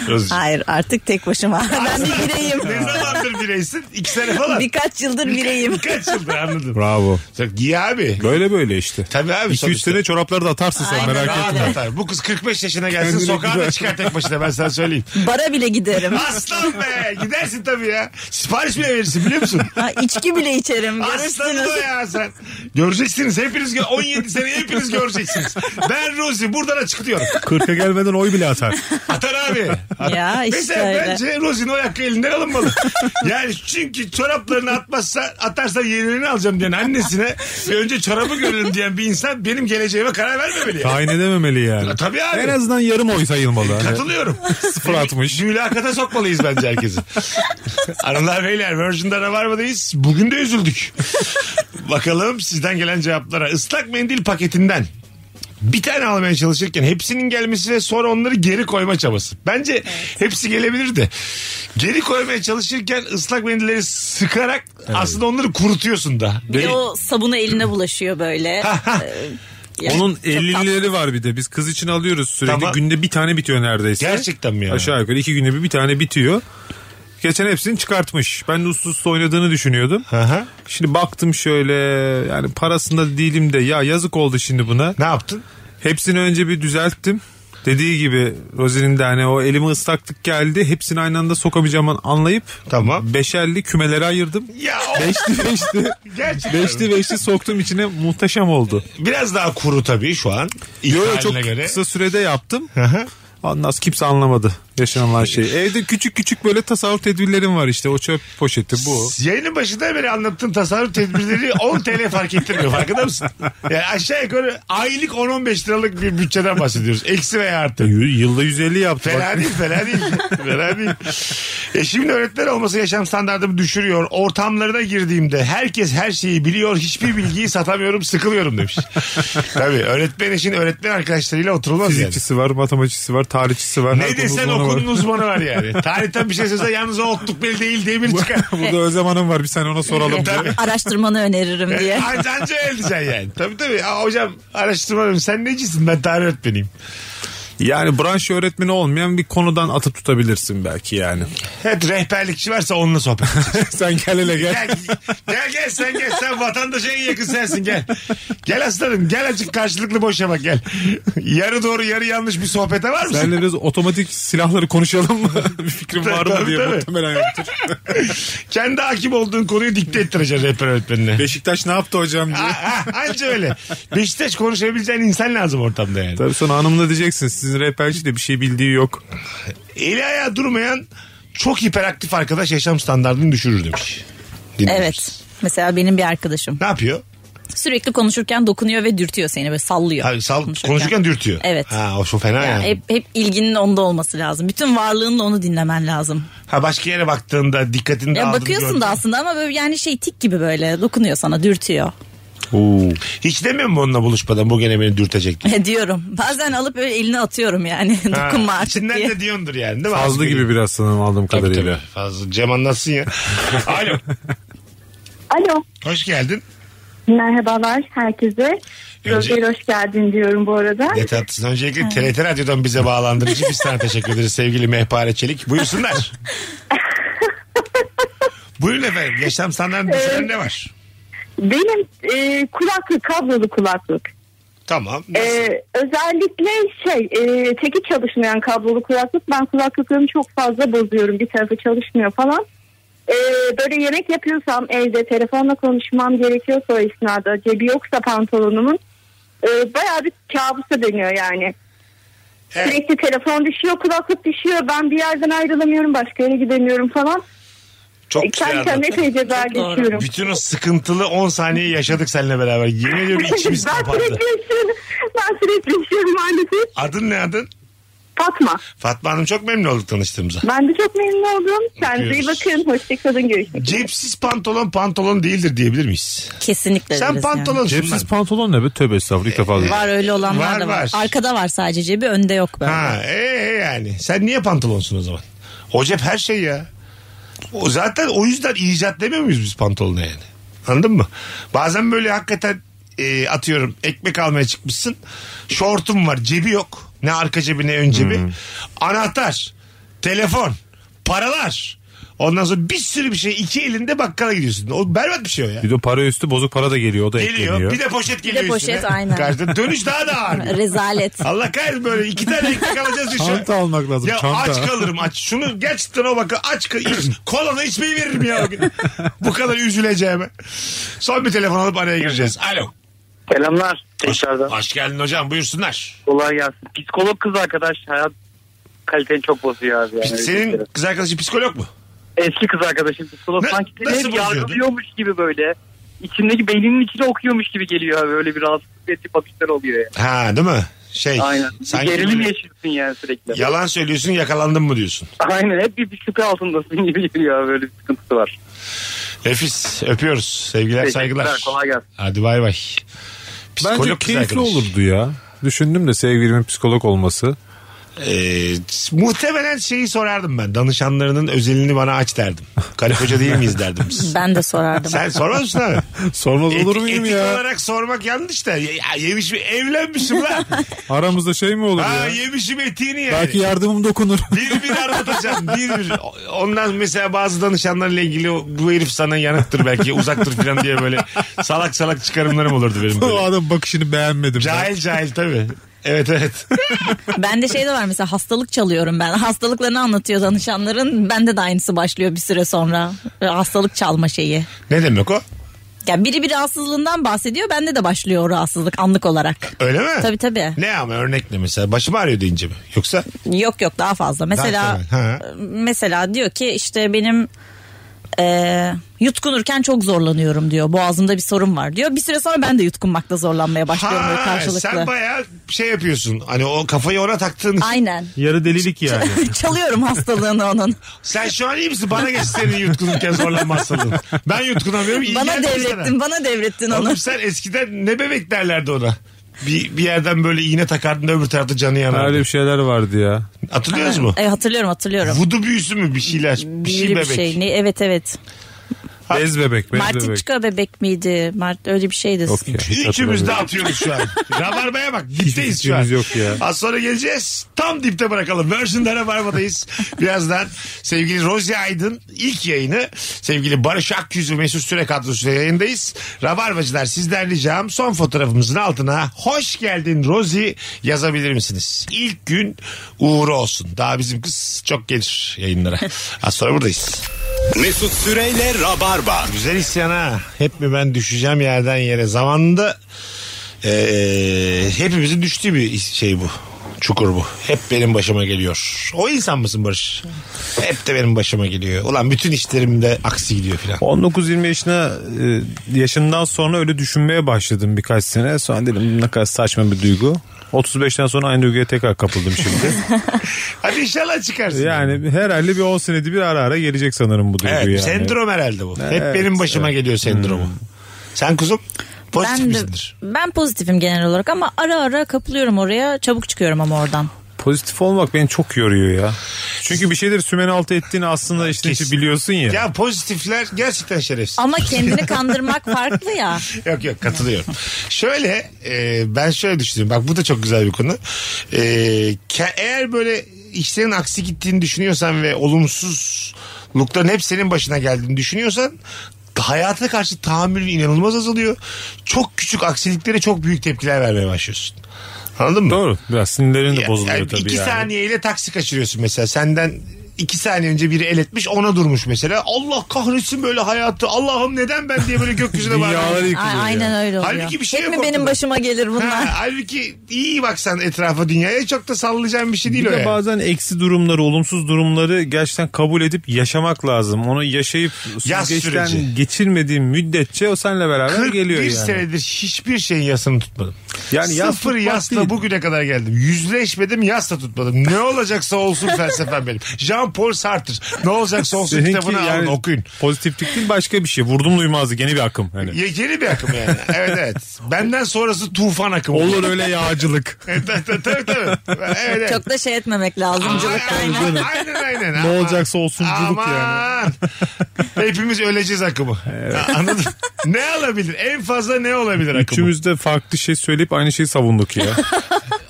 S3: Rozucuğum.
S5: Hayır artık tek başıma. ben bir bireyim.
S3: Ne zamandır bireysin? İki sene falan.
S5: Birkaç yıldır bireyim.
S3: Kaç yıldır anladım.
S4: Bravo.
S3: Sen giy abi.
S4: Böyle böyle işte.
S3: Tabii abi.
S4: 2-3
S3: sonuçta.
S4: sene çorapları da atarsın sen
S5: Aynen.
S4: merak
S3: Rahat
S4: etme.
S3: atar. Bu kız 45 yaşına gelsin
S4: Kendine
S3: sokağa da
S4: güven.
S3: çıkar tek başına ben sana söyleyeyim.
S5: Bara bile giderim.
S3: Aslan be gidersin tabii ya. Sipariş bile verirsin biliyor musun?
S5: Ha, içki bile içerim.
S3: Aslanım
S5: Görürsünüz.
S3: o ya sen. Göreceksiniz hepiniz gö- 17 sene hepiniz göreceksiniz. Ben Rosie buradan açıklıyorum.
S4: 40'a gelmeden oy bile atar.
S3: Atar abi.
S5: Ya işte
S3: Mesela
S5: öyle.
S3: bence Rosie'nin o hakkı elinden alınmalı. yani çünkü çoraplarını atmazsa atarsa yenilerini alacağım diyen annesine bir önce çorabı görelim diyen bir insan benim geleceğime karar vermemeli. yani.
S4: Tayin edememeli yani.
S3: Tabii abi.
S4: En azından yarım oy sayılmalı. Hani.
S3: Katılıyorum.
S4: [laughs] Sıfır atmış.
S3: Mülakata sokmalıyız bence
S4: [laughs]
S3: herkesi. Hanımlar beyler Virgin'de Rabarba'dayız. Bugün de üzüldük. Bakalım sizden gelen cevaplara. Islak mendil paketinden bir tane almaya çalışırken hepsinin gelmesi ve sonra onları geri koyma çabası. Bence hepsi gelebilir de. Geri koymaya çalışırken ıslak mendilleri sıkarak aslında onları kurutuyorsun da.
S5: Bir de o sabunu eline bulaşıyor böyle. Ee, yani
S4: Onun
S5: çok tatlı.
S4: 50'lileri var bir de. Biz kız için alıyoruz sürekli.
S3: Tamam.
S4: Günde bir tane bitiyor neredeyse.
S3: Gerçekten mi yani?
S4: Aşağı yukarı iki günde bir, bir tane bitiyor. Geçen hepsini çıkartmış. Ben de uslu uslu oynadığını düşünüyordum.
S3: Aha.
S4: Şimdi baktım şöyle yani parasında değilim de ya yazık oldu şimdi buna.
S3: Ne yaptın?
S4: Hepsini önce bir düzelttim. Dediği gibi Rozi'nin de hani o elime ıslaklık geldi. Hepsini aynı anda sokamayacağımı anlayıp
S3: Tamam.
S4: beşerli kümelere ayırdım.
S3: Ya o-
S4: [laughs] Beşli beşli.
S3: gerçekten.
S4: beşli beşli soktum içine muhteşem oldu.
S3: Biraz daha kuru tabii şu an. İlk
S4: Yo, yo,
S3: haline
S4: çok
S3: göre.
S4: kısa sürede yaptım.
S3: Aha.
S4: Ondan sonra kimse anlamadı yaşanılan
S3: [laughs]
S4: şeyi. Evde küçük küçük böyle tasavvur tedbirlerim var işte. O çöp poşeti bu.
S3: Yayının başında beri anlattığın tasarruf
S4: [laughs]
S3: tedbirleri 10 TL fark ettirmiyor farkında mısın? Yani aşağı yukarı aylık 10-15 liralık bir bütçeden bahsediyoruz. Eksi veya artı.
S4: Yılda 150 yaptım.
S3: Fena değil, fena değil. fena değil. Eşimin öğretmen olması yaşam standartımı düşürüyor. Ortamlarına girdiğimde herkes her şeyi biliyor. Hiçbir bilgiyi satamıyorum, sıkılıyorum
S4: [laughs]
S3: demiş. Tabii öğretmen eşin öğretmen arkadaşlarıyla oturulmaz yani.
S4: Fizikçisi var, matematikçisi var, tarihçisi var.
S3: Ne desen okulun
S4: [laughs] okunuz.
S3: uzmanı var yani. Tarihten bir şey söylesen yalnız o otluk beli değil diye bir
S4: [laughs]
S3: çıkar.
S4: Burada Özlem Hanım var bir sen
S3: [laughs]
S4: ona
S5: [laughs]
S4: soralım.
S3: Tabii.
S5: Araştırmanı
S3: E,
S5: öneririm diye.
S3: Anca anca öyle diyeceksin yani. Tabii tabii. Aa, hocam araştırma bölümü. Sen necisin? Ben tarih öğretmeniyim.
S4: Yani branş öğretmeni olmayan bir konudan atıp tutabilirsin belki yani. [laughs]
S3: Evet rehberlikçi varsa onunla sohbet
S4: Sen gel hele [laughs] gel.
S3: gel, gel gel sen gel sen vatandaşa en yakın sensin gel. Gel aslanım gel açık karşılıklı boşa bak gel. Yarı doğru yarı yanlış bir sohbete var mısın?
S4: Senle biraz otomatik silahları konuşalım mı? [laughs] bir fikrim var mı
S3: Tabii,
S4: diye
S3: tabii.
S4: muhtemelen yoktur.
S3: [laughs] Kendi hakim olduğun konuyu dikte ettireceksin rehber öğretmenine.
S4: Beşiktaş ne yaptı hocam diye.
S3: [laughs] Ha, ha, Anca öyle. Beşiktaş konuşabileceğin insan lazım ortamda yani.
S4: Tabii sonra hanımla diyeceksin sizin rehberci de bir şey bildiği yok.
S3: Eli ayağı durmayan çok hiperaktif arkadaş yaşam standartını düşürür demiş. Dinliyoruz.
S5: Evet. Mesela benim bir arkadaşım
S3: Ne yapıyor?
S5: sürekli konuşurken dokunuyor ve dürtüyor seni böyle sallıyor.
S3: Abi, sal, konuşurken. dürtüyor.
S5: Evet.
S3: Ha, o çok fena
S5: Yani
S3: yani.
S5: hep, hep ilginin onda olması lazım. Bütün varlığınla onu dinlemen lazım.
S3: Ha, başka yere baktığında dikkatini
S5: Ya
S3: dağıldığını
S5: bakıyorsun
S3: gördün.
S5: da aslında ama böyle yani şey tik gibi böyle dokunuyor sana dürtüyor. [laughs]
S3: Hiç demiyor mu onunla buluşmadan bu gene beni dürtecek diye?
S5: E, diyorum. Bazen alıp böyle eline atıyorum yani.
S3: Ha,
S5: [laughs] Dokunma artık
S3: içinden
S5: diye.
S3: de diyordur yani değil mi?
S4: Fazla gibi biraz sanırım aldığım
S3: Tabii
S4: kadarıyla.
S3: tabii. Fazla. Cem anlatsın ya. Alo.
S12: Alo.
S3: Hoş geldin.
S12: Merhabalar herkese.
S3: Önce-
S12: Roger hoş geldin diyorum bu arada.
S3: Ne tatlısın. Öncelikle TRT Radyo'dan bize bağlandığın için biz sana teşekkür ederiz sevgili Mehpare
S12: [laughs]
S3: Çelik. Buyursunlar. Buyurun efendim. Yaşam standartını düşünen ne var?
S12: Benim e, kulaklık kablolu kulaklık.
S3: Tamam.
S12: E, özellikle şey e, teki çalışmayan kablolu kulaklık. Ben kulaklıklarımı çok fazla bozuyorum. Bir tarafı çalışmıyor falan. E, böyle yemek yapıyorsam evde telefonla konuşmam gerekiyorsa o esnada cebi yoksa pantolonumun e, bayağı bir kabusa dönüyor yani. Sürekli telefon düşüyor, kulaklık düşüyor. Ben bir yerden ayrılamıyorum, başka yere gidemiyorum falan.
S3: Çok
S12: E,
S3: güzel
S12: Kendi kendime
S3: anlattın.
S12: epey ceza geçiyorum.
S3: Bütün o sıkıntılı 10 saniye yaşadık seninle beraber. Yemin ediyorum
S12: [laughs] ben sürekli
S3: içimiz kapandı.
S12: yaşıyorum. Ben sürekli yaşıyorum maalesef.
S3: Adın ne adın?
S12: Fatma.
S3: Fatma Hanım çok memnun olduk tanıştığımıza.
S12: Ben de çok memnun oldum. Kendinize iyi
S3: Öpüyoruz.
S12: bakın. Hoşçakalın. Görüşmek üzere.
S3: Cepsiz pantolon pantolon değildir diyebilir miyiz?
S5: Kesinlikle.
S3: Sen
S5: deriz yani.
S3: pantolon
S4: Cepsiz pantolon ne be tövbe estağfurullah ilk defa. duydum.
S5: Var öyle olanlar
S3: Var,
S5: da var.
S3: var.
S5: Arkada var sadece cebi önde yok böyle.
S3: Ha, e, e yani. Sen niye pantolonsun o zaman? O cep her şey ya. O zaten o yüzden icat demiyor muyuz biz pantolona yani? Anladın mı? Bazen böyle hakikaten e, atıyorum ekmek almaya çıkmışsın. Şortum var, cebi yok. Ne arka cebi ne ön cebi. Anahtar, telefon, paralar. Ondan sonra bir sürü bir şey iki elinde bakkala gidiyorsun. O berbat bir şey o ya.
S4: Bir de para üstü bozuk para da geliyor o da
S3: Geliyor.
S4: ekleniyor.
S3: Bir de poşet
S5: de
S3: geliyor üstüne.
S5: poşet, aynen.
S3: Karşıda dönüş daha da ağır.
S5: [laughs] Rezalet.
S3: Allah kahretsin böyle iki tane ekmek alacağız düşün.
S4: Çanta almak lazım,
S3: Ya
S4: çanta.
S3: aç kalırım aç. Şunu gerçekten o bakı aç kal. iç- Kolana içmeyi veririm ya o
S4: [laughs]
S3: gün. Bu kadar üzüleceğime. Son bir telefon alıp araya gireceğiz. Alo.
S7: Selamlar tekrardan.
S3: Hoş geldin hocam buyursunlar.
S7: Kolay gelsin. Psikolog kız arkadaş hayat kaliteni çok bozuyor abi. Yani.
S3: Biz- Senin kız arkadaşın psikolog mu?
S7: Eski kız arkadaşım psikolog.
S3: Ne-
S7: Sanki seni
S3: nasıl
S7: hep
S3: bozuyordu?
S7: yargılıyormuş gibi böyle. İçindeki beyninin içine okuyormuş gibi geliyor abi. Öyle bir rahatsızlık edici bakışlar oluyor yani.
S3: Ha değil mi? Şey.
S7: Aynen.
S3: Sanki
S7: bir gerilim
S3: böyle
S7: yaşıyorsun yani sürekli.
S3: Yalan söylüyorsun yakalandın mı diyorsun.
S7: Aynen hep bir, bir şüphe altındasın gibi geliyor abi. Öyle bir sıkıntısı var.
S3: Nefis öpüyoruz. Sevgiler saygılar.
S7: Teşekkürler, Kolay gelsin.
S3: Hadi bay bay. Psikolog
S4: Bence
S3: kız
S4: keyifli
S3: arkadaş.
S4: olurdu ya. Düşündüm de sevgilimin psikolog olması.
S3: Ee, muhtemelen şeyi sorardım ben. Danışanlarının özelini bana aç derdim. Karı koca değil miyiz derdim
S4: [laughs]
S3: biz.
S5: Ben de sorardım.
S3: Sen sormaz mısın abi?
S4: Sormaz olur
S3: Etik-
S4: muyum
S3: etik
S4: ya?
S3: olarak sormak yanlış da. Ya, ya yemiş mi? Evlenmişim lan.
S4: Aramızda şey mi [laughs] olur
S3: ha
S4: ya?
S3: yemişim etiğini yani.
S4: Belki yardımım dokunur.
S3: Bir bir anlatacağım. Bir bir. Ondan mesela bazı danışanlarla ilgili o- bu herif sana yanıktır belki uzaktır falan diye böyle salak salak çıkarımlarım olurdu benim.
S4: [laughs] o
S3: Böyle.
S4: adam bakışını beğenmedim. ben.
S3: Cahil cahil tabii. Evet evet.
S5: ben de şey de var mesela hastalık çalıyorum ben. Hastalıklarını anlatıyor danışanların. Bende de aynısı başlıyor bir süre sonra. Böyle hastalık çalma şeyi.
S3: ne demek o?
S5: Ya biri bir rahatsızlığından bahsediyor. Bende de başlıyor o rahatsızlık anlık olarak.
S3: Öyle mi?
S5: Tabii tabii.
S3: Ne ama örnek ne mesela? Başım ağrıyor deyince mi? Yoksa?
S5: Yok yok daha fazla. Mesela
S3: temel, ha.
S5: mesela diyor ki işte benim e, yutkunurken çok zorlanıyorum diyor. Boğazımda bir sorun var diyor. Bir süre sonra ben de yutkunmakta zorlanmaya başlıyorum böyle karşılıklı.
S3: Sen bayağı şey yapıyorsun. Hani o kafayı ona taktığın için.
S5: Aynen. [laughs]
S4: Yarı delilik yani.
S5: Çalıyorum hastalığını onun.
S3: [laughs] Sen şu an iyi misin? Bana geç senin yutkunurken zorlanma hastalığın. Ben yutkunamıyorum. iyi
S5: bana
S3: geldi
S5: devrettin,
S3: sana.
S5: bana devrettin onu.
S3: Oğlum sen eskiden ne bebek derlerdi ona. Bir, bir yerden böyle iğne takardın da öbür tarafta canı yanardı.
S4: Öyle bir şeyler vardı ya.
S3: Hatırlıyorsunuz mu?
S5: E, hatırlıyorum hatırlıyorum.
S3: Vudu büyüsü mü bir şeyler? Bir şey
S5: Biri
S3: bebek.
S5: bir şey. Ne? Evet evet.
S4: Bez bebek, bez bebek.
S5: Martiçka bebek miydi? Mart öyle bir şeydi.
S4: Yok ya, hiç
S3: İkimiz de
S4: hatırlamıyorum.
S3: atıyoruz şu an.
S4: [laughs]
S3: Rabarbaya bak dipteyiz şu an.
S4: fikrimiz yok ya.
S3: Az sonra geleceğiz. Tam dipte bırakalım. Virgin'de
S4: [laughs]
S3: Rabarba'dayız. Birazdan sevgili Rozi Aydın ilk yayını sevgili Barış Akyüz ve Mesut Süre kadrosuyla yayındayız. Rabarbacılar sizden ricam son fotoğrafımızın altına hoş geldin Rozi yazabilir misiniz? İlk gün uğru olsun. Daha bizim kız çok gelir
S4: [laughs]
S3: yayınlara. Az sonra buradayız.
S2: Mesut Süreyle Rabarba.
S3: Güzel isyan ha. Hep mi ben düşeceğim yerden yere? Zamanında eee, hepimizin düştüğü bir is- şey bu. Çukur bu. Hep benim başıma geliyor. O insan mısın Barış? Hep de benim başıma geliyor. Ulan bütün işlerimde aksi gidiyor filan.
S4: 19-20 yaşına e, yaşından sonra öyle düşünmeye başladım birkaç sene. Sonra dedim ne kadar saçma bir duygu. 35'ten sonra aynı duyguya tekrar kapıldım [laughs] şimdi.
S3: Hadi inşallah çıkarsın.
S4: yani herhalde bir 10 senede bir ara ara gelecek sanırım bu duygu
S3: Hmm. evet,
S4: yani.
S3: sendrom herhalde bu. Hep
S4: Evet, Hmm.
S3: benim başıma geliyor sendromu. Sen kuzum pozitif
S5: Ben de
S3: misindir?
S5: ben pozitifim genel olarak ama ara ara kapılıyorum oraya. Çabuk çıkıyorum ama oradan.
S4: Pozitif olmak beni çok yoruyor ya. Çünkü bir şeyleri sümen altı ettiğini aslında işte
S3: Kesin.
S4: biliyorsun ya.
S3: Ya pozitifler gerçekten şerefsiz.
S5: Ama
S3: [laughs]
S5: kendini kandırmak farklı ya.
S3: yok yok katılıyorum. şöyle e, ben şöyle düşünüyorum. Bak bu da çok güzel bir konu. E, ke- eğer böyle işlerin aksi gittiğini düşünüyorsan ve olumsuzlukların hep senin başına geldiğini düşünüyorsan hayata karşı tahammülün inanılmaz azalıyor. Çok küçük aksiliklere çok büyük tepkiler vermeye başlıyorsun. Anladın mı?
S4: Doğru. Biraz sinirlerin de
S3: Ya,
S4: bozuluyor
S3: yani
S4: tabii
S3: iki
S4: yani.
S3: saniyeyle taksi kaçırıyorsun mesela. Senden iki saniye önce biri el etmiş ona durmuş mesela. Allah kahretsin böyle hayatı. Allah'ım neden ben diye böyle gökyüzüne
S4: [laughs] Dünyaları
S3: bağırıyorsun.
S4: yıkılıyor
S5: A- Aynen
S4: ya.
S5: öyle oluyor.
S3: Halbuki bir şey
S5: Hep
S3: yok
S5: mi benim
S3: ortada?
S5: başıma gelir bunlar?
S3: Ha, halbuki iyi baksan etrafa dünyaya çok da sallayacağın bir şey değil
S4: Bir
S3: o
S4: de
S3: yani.
S4: bazen eksi durumları, olumsuz durumları gerçekten kabul edip yaşamak lazım. Onu yaşayıp
S3: Yaz süreci.
S4: süzgeçten geçirmediğin müddetçe o seninle beraber
S3: 41
S4: geliyor yani.
S3: senedir hiçbir şeyin yasını tutmadım.
S4: Yani yas
S3: Sıfır
S4: tutmak
S3: yasla
S4: değil.
S3: bugüne kadar geldim. Yüzleşmedim yasla tutmadım. Ne olacaksa olsun felsefem benim. Jean Paul Sartre. Ne olacaksa olsun
S4: Seninki
S3: kitabını alın
S4: yani
S3: okuyun.
S4: Pozitiflik değil başka bir şey. Vurdum duymazlık yeni bir akım. Hani.
S3: Ya Yeni bir akım yani. Evet evet. Benden sonrası tufan akımı.
S4: Olur öyle yağcılık.
S3: [laughs] Evet, tabii tabii. tabii. Evet, evet.
S5: Çok da şey etmemek lazımcılık.
S3: aynen aynen. aynen.
S4: ne olacaksa olsunculuk
S3: Aman.
S4: yani.
S3: Hepimiz öleceğiz akımı. Anladın mı? Ne olabilir? En fazla ne olabilir akımı?
S4: Üçümüz de farklı şey söyleyip aynı şeyi
S3: [laughs]
S4: savunduk ya.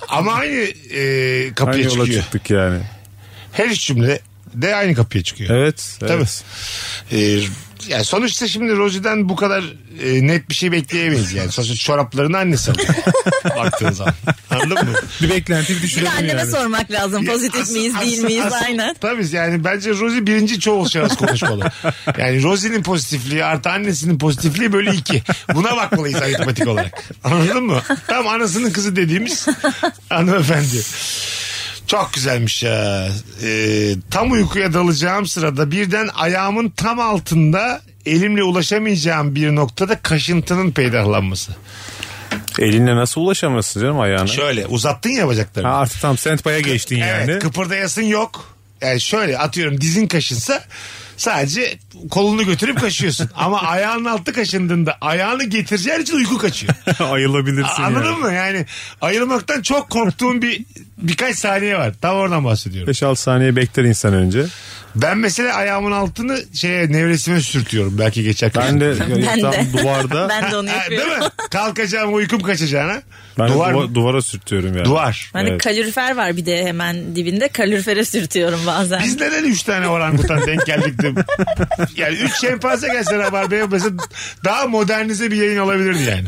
S3: Ama aynı e, kapıya
S4: aynı yola
S3: çıkıyor.
S4: çıktık yani.
S3: Her üç cümle de aynı kapıya çıkıyor.
S4: Evet. evet.
S3: Tabii. Ee, yani sonuçta şimdi Rozi'den bu kadar e, net bir şey bekleyemeyiz yani. Sonuçta çoraplarını annesi
S4: [laughs]
S3: alıyor. Baktığın zaman. Anladın mı?
S4: Bir beklenti bir
S5: Bir de
S4: düşürelim
S5: anneme
S4: yani.
S5: sormak lazım. Pozitif
S3: As-
S5: miyiz
S3: as-
S5: değil miyiz?
S3: as-
S5: Aynen.
S3: Tabii yani bence Rosie birinci çoğul şahıs
S5: [laughs]
S3: konuşmalı. Yani Rosie'nin pozitifliği artı annesinin pozitifliği bölü iki. Buna bakmalıyız aritmetik olarak. Anladın mı? Tam anasının kızı dediğimiz hanımefendi. Çok güzelmiş ya. Ee, tam uykuya dalacağım sırada birden ayağımın tam altında elimle ulaşamayacağım bir noktada kaşıntının peydahlanması.
S4: Elinle nasıl ulaşamazsın canım ayağına?
S3: Şöyle uzattın ya bacaklarını.
S4: Ha, artık tam sentpaya geçtin yani.
S3: Evet kıpırdayasın yok. Yani şöyle atıyorum dizin kaşınsa sadece kolunu götürüp kaşıyorsun.
S4: [laughs]
S3: Ama ayağının altı kaşındığında ayağını getireceğin için uyku
S4: [laughs]
S3: kaçıyor.
S4: Ayılabilirsin
S3: Anladın
S4: yani.
S3: mı? Yani ayılmaktan çok korktuğum bir birkaç saniye var. Tam oradan bahsediyorum.
S4: 5-6 saniye bekler insan önce.
S3: Ben mesela ayağımın altını şeye nevresime sürtüyorum belki geçer.
S4: Ben
S3: [laughs]
S4: de yani
S5: Ben
S4: tam
S5: de.
S4: duvarda ben,
S5: [laughs] Ben de onu
S3: Ha,
S5: yapıyorum.
S3: değil mi? Kalkacağım uykum kaçacağına.
S4: de
S3: duvar,
S4: duva-
S3: mı?
S4: duvara sürtüyorum yani.
S3: duvar.
S5: Hani
S4: Evet.
S5: kalorifer var bir de hemen dibinde. Kalorifere sürtüyorum
S3: [laughs]
S5: bazen. [laughs]
S3: Biz neden 3 tane orangutan denk geldik de yani 3 şempanze gelse Rabarba'ya mesela daha modernize bir yayın olabilirdi yani.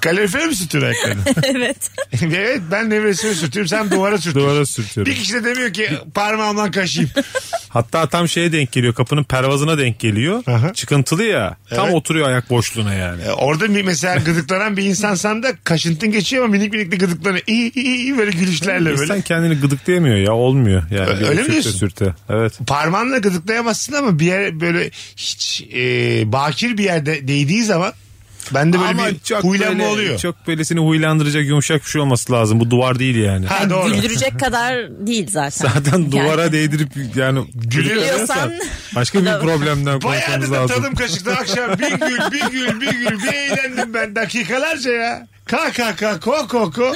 S3: Kalorifere mi sürtüyor
S4: [laughs]
S3: ayaklarını?
S5: evet.
S3: evet ben nevresime sürtüyorum sen duvara sürtüyorsun.
S4: Duvara sürtüyorum.
S3: Bir kişi de demiyor ki parmağımdan kaşıyım.
S4: Hatta tam şeye denk geliyor. Kapının pervazına denk geliyor.
S3: Aha.
S4: Çıkıntılı ya. Tam
S3: Evet.
S4: oturuyor ayak boşluğuna yani.
S3: E, Orada bir mesela gıdıklanan bir insansan da kaşıntın geçiyor ama minik minik de gıdıklanıyor. İyi, iyi, iyi, böyle gülüşlerle
S4: İnsan
S3: böyle.
S4: kendini gıdıklayamıyor ya. Olmuyor. Yani
S3: Ö-
S4: Bir
S3: öyle mi
S4: sürte
S3: diyorsun?
S4: Sürte. Evet.
S3: Parmağınla gıdıklayamazsın ama bir yer böyle hiç e, bakir bir yerde değdiği zaman bende böyle bir huylanma
S4: böyle-
S3: oluyor.
S4: Çok böyle seni huylandıracak yumuşak bir şey olması lazım. Bu duvar değil yani.
S3: Ha,
S5: Yani
S3: doğru.
S5: güldürecek kadar değil zaten.
S4: [laughs] Zaten duvara
S5: Yani
S4: değdirip yani
S5: Gülüyorsan-
S4: başka
S5: [laughs]
S4: bir problemden
S3: Bayağı
S4: konuşmamız
S3: da
S4: lazım.
S3: tadım kaşıktı akşam. Bir gül, bir gül, bir gül. Bir eğlendim ben dakikalarca ya. Ka ka ka ko ko ko.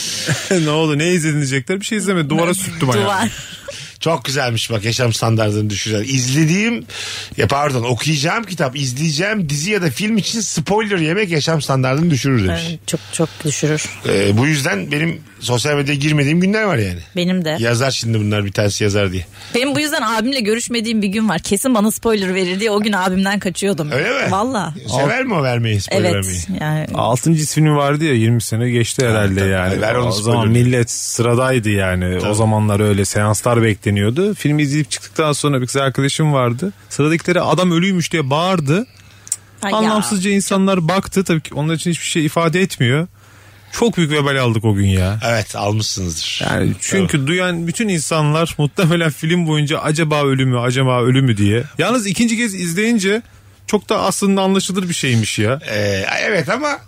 S4: [laughs] ne oldu ne izledin diyecekler bir şey izleme duvara sürttüm ayağı.
S5: duvar.
S3: Çok güzelmiş bak yaşam standartını düşüren. İzlediğim ya pardon okuyacağım kitap, izleyeceğim dizi ya da film için spoiler yemek yaşam standartını düşürür demiş.
S5: Evet, çok çok düşürür.
S3: Ee, bu yüzden benim sosyal medyaya girmediğim günler var yani.
S5: Benim de.
S3: Yazar şimdi bunlar bir tanesi yazar diye.
S5: Benim bu yüzden abimle görüşmediğim bir gün var. Kesin bana spoiler verir diye o gün abimden kaçıyordum.
S3: Öyle mi?
S5: Valla.
S3: Sever mi o vermeyi spoiler
S5: Evet.
S3: vermeyi?
S5: Yani
S4: Altıncı ismini vardı ya 20 sene geçti herhalde yani.
S3: Ver onu
S4: o zaman
S3: spoiler.
S4: millet sıradaydı yani. O zamanlar öyle seanslar bekleniyordu. Filmi izleyip çıktıktan sonra bir kız arkadaşım vardı. Sıradakilere adam ölüymüş diye bağırdı.
S5: Ay ya.
S4: Anlamsızca insanlar baktı. Tabii ki onlar için hiçbir şey ifade etmiyor. Çok büyük vebal aldık o gün ya.
S3: Evet almışsınızdır.
S4: Yani çünkü duyan bütün insanlar muhtemelen film boyunca acaba ölü mü acaba ölü mü diye. Yalnız ikinci kez izleyince çok da aslında anlaşılır bir şeymiş ya.
S3: Ee, evet ama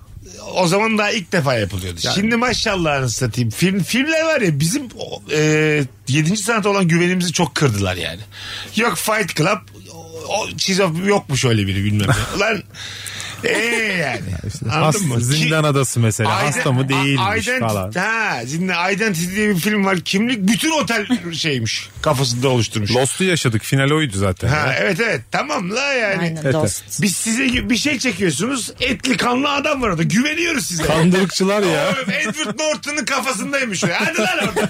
S3: o zaman daha ilk defa yapılıyordu. Şimdi maşallah anasını satayım. Film, filmler var ya bizim o, e, 7. sanata olan güvenimizi çok kırdılar yani. Yok Fight Club o- o, çizof yokmuş öyle biri bilmem ne. Lan ee yani.
S4: Hast,
S3: Anladın mı? Ki-
S4: Zindan adası mesela
S3: Aiden-
S4: hasta mı
S3: A-
S4: değilmiş
S3: Identity-
S4: falan.
S3: Ha, Zindan Identity diye bir film var. Kimlik bütün otel şeymiş. Kafasında oluşturmuş.
S4: Lost'u yaşadık final oydu zaten.
S3: Ha,
S4: ya.
S3: evet evet tamam la yani.
S5: Aynen
S4: Evet,
S5: dost.
S3: Biz size bir şey çekiyorsunuz. Etli kanlı adam var orada. Güveniyoruz size. [laughs]
S4: Kandırıkçılar ya.
S3: Oğlum Edward Norton'un kafasındaymış o. Hadi lan oradan.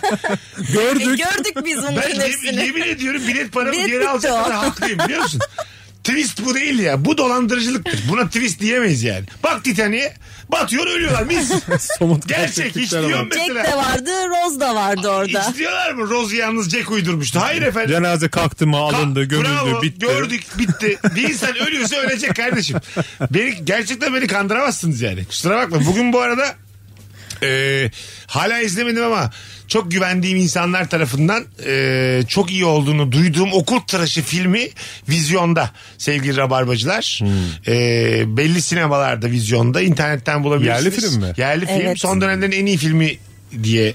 S5: E,
S4: Gördük.
S5: gördük biz
S3: Ben
S5: bunların
S3: yemin,
S5: hepsini.
S3: yemin ediyorum bilet paramı
S5: Bilet
S3: geri
S5: bitti
S3: alacak kadar
S5: o.
S3: haklıyım biliyor musun? Twist bu değil ya. Bu dolandırıcılıktır. Buna twist diyemeyiz yani. Bak Titanic'e batıyor ölüyorlar mis.
S4: [laughs] Somut
S3: Gerçek hiç
S4: gerçeklikler
S3: diyorum
S4: var.
S5: Jack
S3: mesela.
S5: de vardı, Rose da vardı orada.
S3: Hiç diyorlar mı? Rose yalnız Jack uydurmuştu. Hayır efendim.
S4: Cenaze kalktı mı
S3: Ka-
S4: alındı gömüldü
S3: Bravo,
S4: bitti.
S3: Gördük bitti. Bir insan ölüyorsa ölecek kardeşim. Beni, gerçekten beni kandıramazsınız yani. Kusura bakma. Bugün bu arada e, hala izlemedim ama çok güvendiğim insanlar tarafından e, çok iyi olduğunu duyduğum okul tıraşı filmi vizyonda sevgili rabarbacılar.
S4: Hmm.
S3: E, belli sinemalarda vizyonda internetten bulabilirsiniz.
S4: Yerli film mi?
S3: Yerli film.
S5: Evet.
S3: Son dönemlerin en iyi filmi diye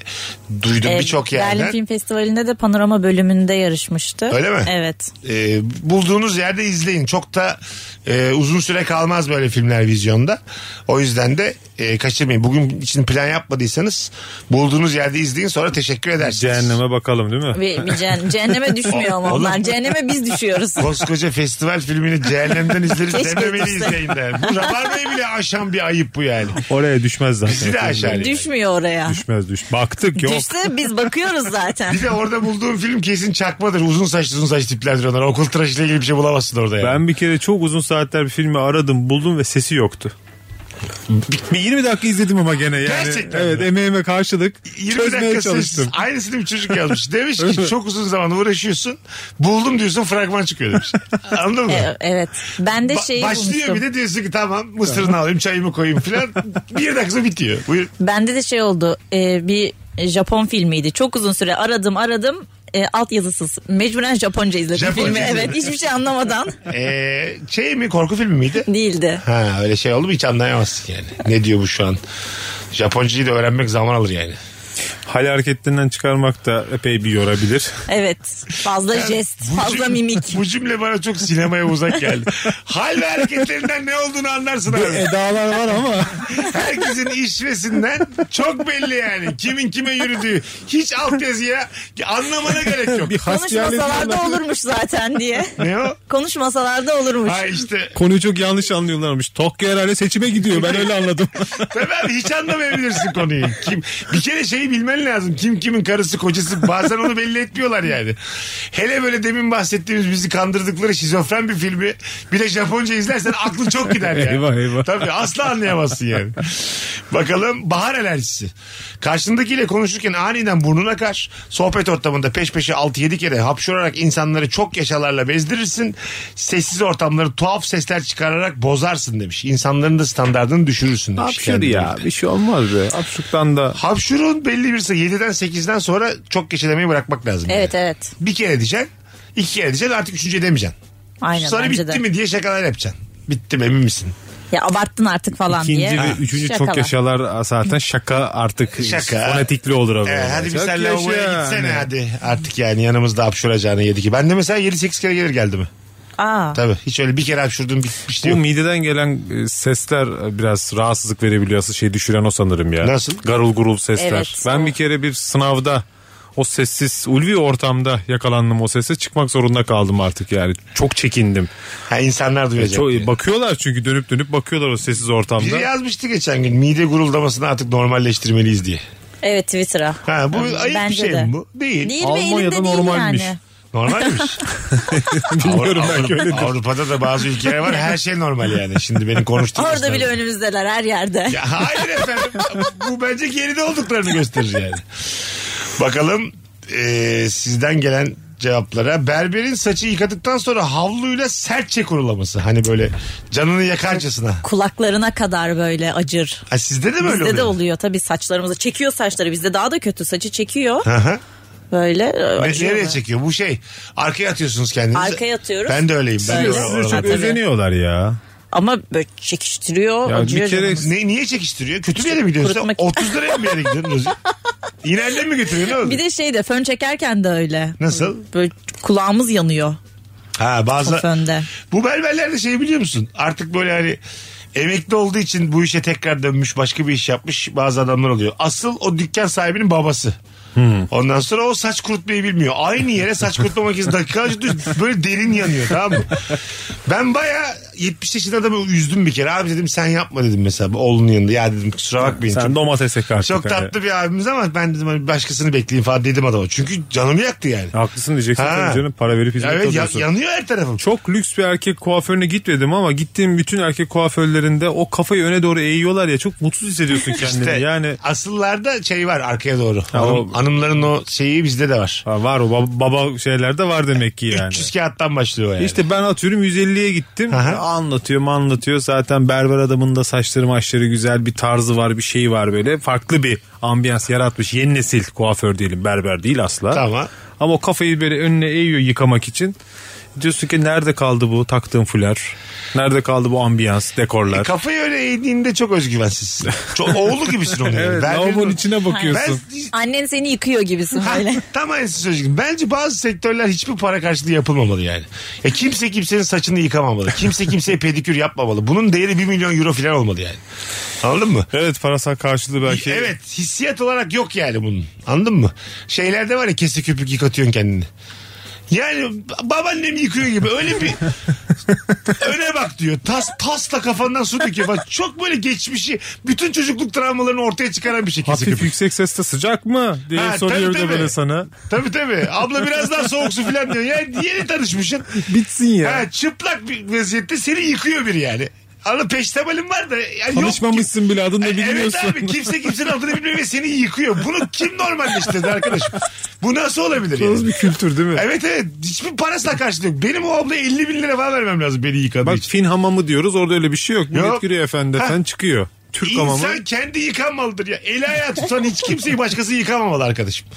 S3: duydum
S5: E,
S3: birçok yerden.
S5: Berlin Film Festivali'nde de panorama bölümünde yarışmıştı.
S3: Öyle mi?
S5: Evet.
S3: E, bulduğunuz yerde izleyin. Çok da e, uzun süre kalmaz böyle filmler vizyonda. O yüzden de e, kaçırmayın. Bugün için plan yapmadıysanız bulduğunuz yerde izleyin sonra teşekkür edersiniz.
S4: Cehenneme bakalım değil mi?
S5: Bir, bir cehen- cehenneme düşmüyor ama onlar. Cehenneme biz düşüyoruz.
S3: Koskoca festival filmini cehennemden izleriz
S5: Keşke
S3: dememeli
S5: izlese.
S3: izleyin de. Bu rabarbayı bile aşan bir ayıp bu yani.
S4: Oraya düşmez zaten.
S3: Bizi de aşağı yani.
S5: Düşmüyor oraya.
S4: Düşmez düş. Baktık yok.
S5: Düşse biz bakıyoruz zaten.
S3: Bir de orada bulduğum film kesin çakmadır. Uzun saçlı uzun saç tiplerdir onlar. Okul tıraşıyla ilgili bir şey bulamazsın orada yani.
S4: Ben bir kere çok uzun saatler bir filmi aradım buldum ve sesi yoktu. Bir 20 dakika izledim ama gene yani.
S3: Gerçekten
S4: evet
S3: mi?
S4: emeğime karşılık
S3: 20
S4: çözmeye
S3: dakika
S4: çalıştım.
S3: sessiz. Aynısını bir çocuk yazmış. Demiş ki çok uzun zaman uğraşıyorsun. Buldum diyorsun fragman çıkıyor
S5: [laughs]
S3: demiş. Anladın mı?
S5: E, evet. şey Ben de
S3: Ba-
S5: şeyi
S3: başlıyor
S5: bulmuştum.
S3: bir de diyorsun ki tamam mısırını alayım çayımı koyayım
S4: [laughs]
S3: filan. bir dakika sonra bitiyor. Buyur.
S5: Bende de şey oldu. e, bir Japon filmiydi. Çok uzun süre aradım aradım. E, alt yazısız. Mecburen Japonca izledim
S3: Japonca
S5: filmi.
S3: izledim.
S5: Evet. Hiçbir şey anlamadan
S3: Ee, şey mi korku filmi miydi?
S5: değildi.
S3: Ha öyle şey oldu mu hiç anlayamazsın yani. Ne diyor bu şu an? Japoncayı da öğrenmek zaman alır yani.
S4: Hal hareketlerinden çıkarmak da epey bir yorabilir.
S5: Evet. Fazla jest,
S3: Bu
S5: fazla
S3: cüm-
S5: mimik.
S3: Bu cümle bana çok sinemaya uzak
S5: [laughs]
S3: geldi. Hal ve hareketlerinden ne olduğunu anlarsın abi.
S4: [laughs] Edalar var
S3: [laughs]
S4: ama.
S3: Herkesin işvesinden çok belli yani. Kimin kime yürüdüğü. Hiç altyazıya anlamana gerek yok.
S4: bir hasbihal
S5: Konuşmasalarda
S4: ediyorlar.
S5: olurmuş
S3: [laughs]
S5: zaten diye.
S3: Ne o?
S5: Konuşmasalarda olurmuş.
S3: Ha işte.
S4: Konuyu çok yanlış anlıyorlarmış. Tokyo herhalde seçime gidiyor. Ben öyle
S3: [laughs]
S4: anladım.
S3: Tabii abi hiç anlamayabilirsin konuyu. Kim, bir kere şeyi bilmen lazım. Kim kimin karısı kocası bazen onu belli etmiyorlar yani. Hele böyle demin bahsettiğimiz bizi kandırdıkları şizofren bir filmi bir de Japonca izlersen aklın çok gider yani.
S4: Eyvah, eyvah.
S3: Tabii asla anlayamazsın yani. Bakalım bahar alerjisi. Karşındakiyle konuşurken aniden burnuna kar. Sohbet ortamında peş peşe 6-7 kere hapşurarak insanları çok yaşalarla bezdirirsin. Sessiz ortamları tuhaf sesler çıkararak bozarsın demiş. İnsanların da standartını düşürürsün demiş.
S4: Hapşur ya. Bir şey olmaz be. Hapşurttan da.
S3: Hapşurun belli bir sayı 7'den 8'den sonra çok geçelemeyi bırakmak lazım.
S5: Evet
S3: yani.
S5: evet.
S3: Bir kere diyeceksin, iki kere diyeceksin artık üçüncü edemeyeceksin.
S5: Aynen
S3: Sonra
S5: bence
S3: bitti
S5: de.
S3: mi diye şakalar yapacaksın. Bitti mi emin misin?
S5: Ya abarttın artık falan
S4: İkinci
S5: diye.
S4: ve üçüncü çok
S5: Şakalar.
S4: yaşalar zaten şaka artık
S3: Şaka.
S4: fonetikli olur. abi.
S3: Ee, hadi bir
S4: Çok
S3: sen
S4: yaşa
S3: lavaboya
S4: yani.
S3: gitsene hadi artık yani yanımızda hapşuracağını yedi ki. Ben de mesela 7-8 kere gelir geldi mi?
S5: Aa.
S3: Tabii hiç öyle bir kere hapşurdum bitmişti
S4: Bu
S3: yok.
S4: mideden gelen e, sesler e, biraz rahatsızlık verebiliyor. Asıl şey düşüren o sanırım ya.
S3: Nasıl?
S4: Garul gurul sesler.
S5: Evet,
S4: ben
S5: o.
S4: bir kere bir sınavda o sessiz ulvi ortamda yakalandım o sese çıkmak zorunda kaldım artık yani. Çok çekindim. E,
S3: Ha insanlar duyacak diye.
S4: bakıyorlar çünkü dönüp dönüp bakıyorlar o sessiz ortamda.
S3: Biri yazmıştı geçen gün mide guruldamasını artık normalleştirmeliyiz diye.
S5: Evet Twitter'a.
S3: Ha, bu ayıp bir şey mi bu? Değil.
S5: Değil ve
S3: Almanya'da
S5: elinde değil
S3: normalmiş.
S5: yani.
S3: Normalmiş.
S4: [laughs] Bilmiyorum
S3: Avru-
S4: belki öyledir.
S3: Avrupa'da da bazı ülkeler var her şey normal yani. Şimdi benim konuştuğum
S5: Orada
S3: insanlar-
S5: bile önümüzdeler her yerde.
S3: Ya hayır efendim. Bu bence geride olduklarını gösterir yani. Bakalım e, sizden gelen cevaplara. Berberin saçı yıkadıktan sonra havluyla sertçe kurulaması. Hani böyle canını yakarcasına.
S5: Kulaklarına kadar böyle acır.
S3: Ha, sizde de mi öyle
S5: Bizde de
S3: oluyor?
S5: oluyor tabii saçlarımızı. Çekiyor saçları bizde daha da kötü saçı çekiyor.
S3: Aha.
S5: Böyle e,
S3: Ne-
S5: acıyor.
S3: Nereye çekiyor? Bu şey. Arkaya atıyorsunuz kendinizi.
S5: Arkaya atıyoruz.
S3: Ben de öyleyim. Ben de
S5: Böyle.
S3: öyle-
S5: Ha,
S4: çok
S5: tabii.
S4: özeniyorlar ya.
S5: Ama böyle çekiştiriyor.
S4: Ya
S5: acıyor
S4: bir kere
S5: canımız.
S3: Ne, niye çekiştiriyor? Kötü bir yere mi gidiyorsun?
S5: kurutmak-
S3: 30 liraya mı bir yere gidiyorsun
S5: [laughs]
S3: Rozi? İnerden mi götürüyorsun? Ne oldu?
S5: Bir de şey de fön çekerken de öyle.
S3: Nasıl?
S5: Böyle kulağımız yanıyor
S3: Ha
S5: o
S3: bazı
S5: fönde.
S3: Bu berberler de şey biliyor musun? Artık böyle hani emekli olduğu için bu işe tekrar dönmüş başka bir iş yapmış bazı adamlar oluyor. Asıl o dükkan sahibinin babası.
S4: Hmm.
S3: Ondan sonra o saç kurutmayı bilmiyor. Aynı yere saç kurutma makinesi dakikalarca düz böyle derin yanıyor tamam mı? Ben baya 70 yaşında adamı üzdüm bir kere. Abi dedim sen yapma dedim mesela oğlunun yanında. Ya dedim kusura bakmayın.
S4: Sen
S3: Çok-
S4: domates ekart.
S3: çok tatlı bir abimiz ama ben dedim hani başkasını bekleyin falan dedim adama. Çünkü canımı yaktı yani.
S4: Haklısın diyeceksin
S3: Ha.
S4: tabii canım para verip hizmet
S3: Evet ya-
S4: alıyorsun.
S3: yanıyor her tarafım.
S4: Çok lüks bir erkek kuaförüne gitmedim ama gittiğim bütün erkek kuaförlerinde o kafayı öne doğru eğiyorlar ya çok mutsuz hissediyorsun
S3: [laughs]
S4: kendini.
S3: İşte
S4: yani
S3: asıllarda şey var arkaya doğru.
S4: Ha,
S3: Hanım-
S4: o-
S3: hanımların o şeyi bizde de var.
S4: Ha, var o bab- baba şeylerde var demek ki yani.
S3: 300 kağıttan başlıyor yani.
S4: İşte ben atıyorum 150'ye gittim.
S3: Aha.
S4: Anlatıyor anlatıyor. Zaten berber adamın da saçları maçları güzel bir tarzı var bir şey var böyle. Farklı bir ambiyans yaratmış. Yeni nesil kuaför diyelim berber değil asla.
S3: Tamam.
S4: Ama o kafayı böyle önüne eğiyor yıkamak için. Diyorsun ki nerede kaldı bu taktığın fular? Nerede kaldı bu ambiyans, dekorlar?
S3: Kafayı öyle eğdiğinde çok özgüvensiz. Çok oğlu gibisin onun. yani.
S4: [laughs] evet,
S3: Berberin-
S4: lavabonun içine bakıyorsun.
S3: Ben-
S5: Annen seni yıkıyor gibisin
S3: Ha, [laughs]
S5: böyle.
S3: tam aynısı söyleyecektim. Bence bazı sektörler hiçbir para karşılığı yapılmamalı yani. Ya kimse kimsenin saçını yıkamamalı. Kimse kimseye pedikür yapmamalı. Bunun değeri 1 milyon euro falan olmalı yani. Anladın mı?
S4: Evet parasal karşılığı belki.
S3: Evet hissiyat olarak yok yani bunun. Anladın mı? Şeylerde var ya kese köpük yıkatıyorsun kendini. Yani babaannem yıkıyor gibi öyle
S4: [laughs]
S3: bir öne bak diyor. Tas, tasla kafandan su döküyor. Bak çok böyle geçmişi bütün çocukluk travmalarını ortaya çıkaran bir şey kese
S4: Hafif
S3: köpük.
S4: yüksek sesle sıcak mı diye
S3: Ha,
S4: soruyor
S3: tabii,
S4: bir de
S3: tabii.
S4: böyle sana.
S3: Tabii tabii. Abla biraz daha soğuk su falan diyor. Yani yeni tanışmışsın.
S4: Bitsin ya.
S3: Ha, çıplak bir vaziyette seni yıkıyor biri yani. Anladın peştemalin var da. Yani yok ki-
S4: Tanışmamışsın bile adını da bilmiyorsun.
S3: E, Evet abi kimse kimsenin adını bilmiyor ve seni yıkıyor. Bunu kim normalleştirdi arkadaş? Bu nasıl olabilir
S4: Yalnız
S3: yani?
S4: bir şey. kültür değil mi?
S3: Evet evet hiçbir parasına karşılığı yok. Benim o ablaya 50 bin lira falan vermem lazım beni yıkadığı
S4: Bak
S3: için.
S4: Fin hamamı diyoruz orada öyle bir şey yok.
S3: Yok.
S4: Millet giriyor efendi
S3: Ha.
S4: efendi çıkıyor. Türk hamamı.
S3: İnsan kendi yıkanmalıdır ya. El ayağı tutan hiç kimseyi başkası yıkamamalı arkadaşım.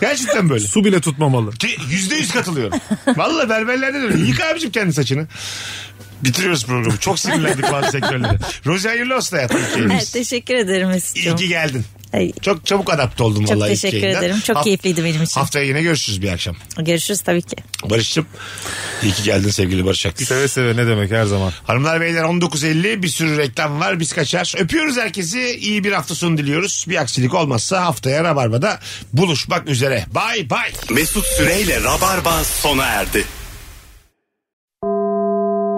S3: Gerçekten böyle.
S4: Su bile tutmamalı.
S3: Ki Yüzde yüz katılıyorum. Valla berberlerde de öyle. Yıka abicim kendi saçını. Bitiriyoruz programı. Çok sinirlendik bazı sektörlere. Rozi hayırlı olsun hayatım.
S5: Evet, teşekkür ederim
S3: İyi
S5: Mesut'cum.
S3: ki geldin.
S5: Ay,
S3: Çok çabuk adapte oldum
S5: Çok
S3: vallahi. ilk
S5: teşekkür
S3: yayından.
S5: ederim. Çok
S3: Haft-
S5: keyifliydi benim için.
S3: Haftaya yine görüşürüz bir akşam.
S5: Görüşürüz tabii ki.
S3: Barış'cığım iyi ki geldin sevgili Barış Akgüz.
S4: Seve seve ne demek her zaman.
S3: Hanımlar beyler 19.50 bir sürü reklam var biz kaçar. Öpüyoruz herkesi iyi bir hafta sonu diliyoruz. Bir aksilik olmazsa haftaya Rabarba'da buluşmak üzere. Bay bay.
S2: Mesut Süreyle Rabarba sona erdi.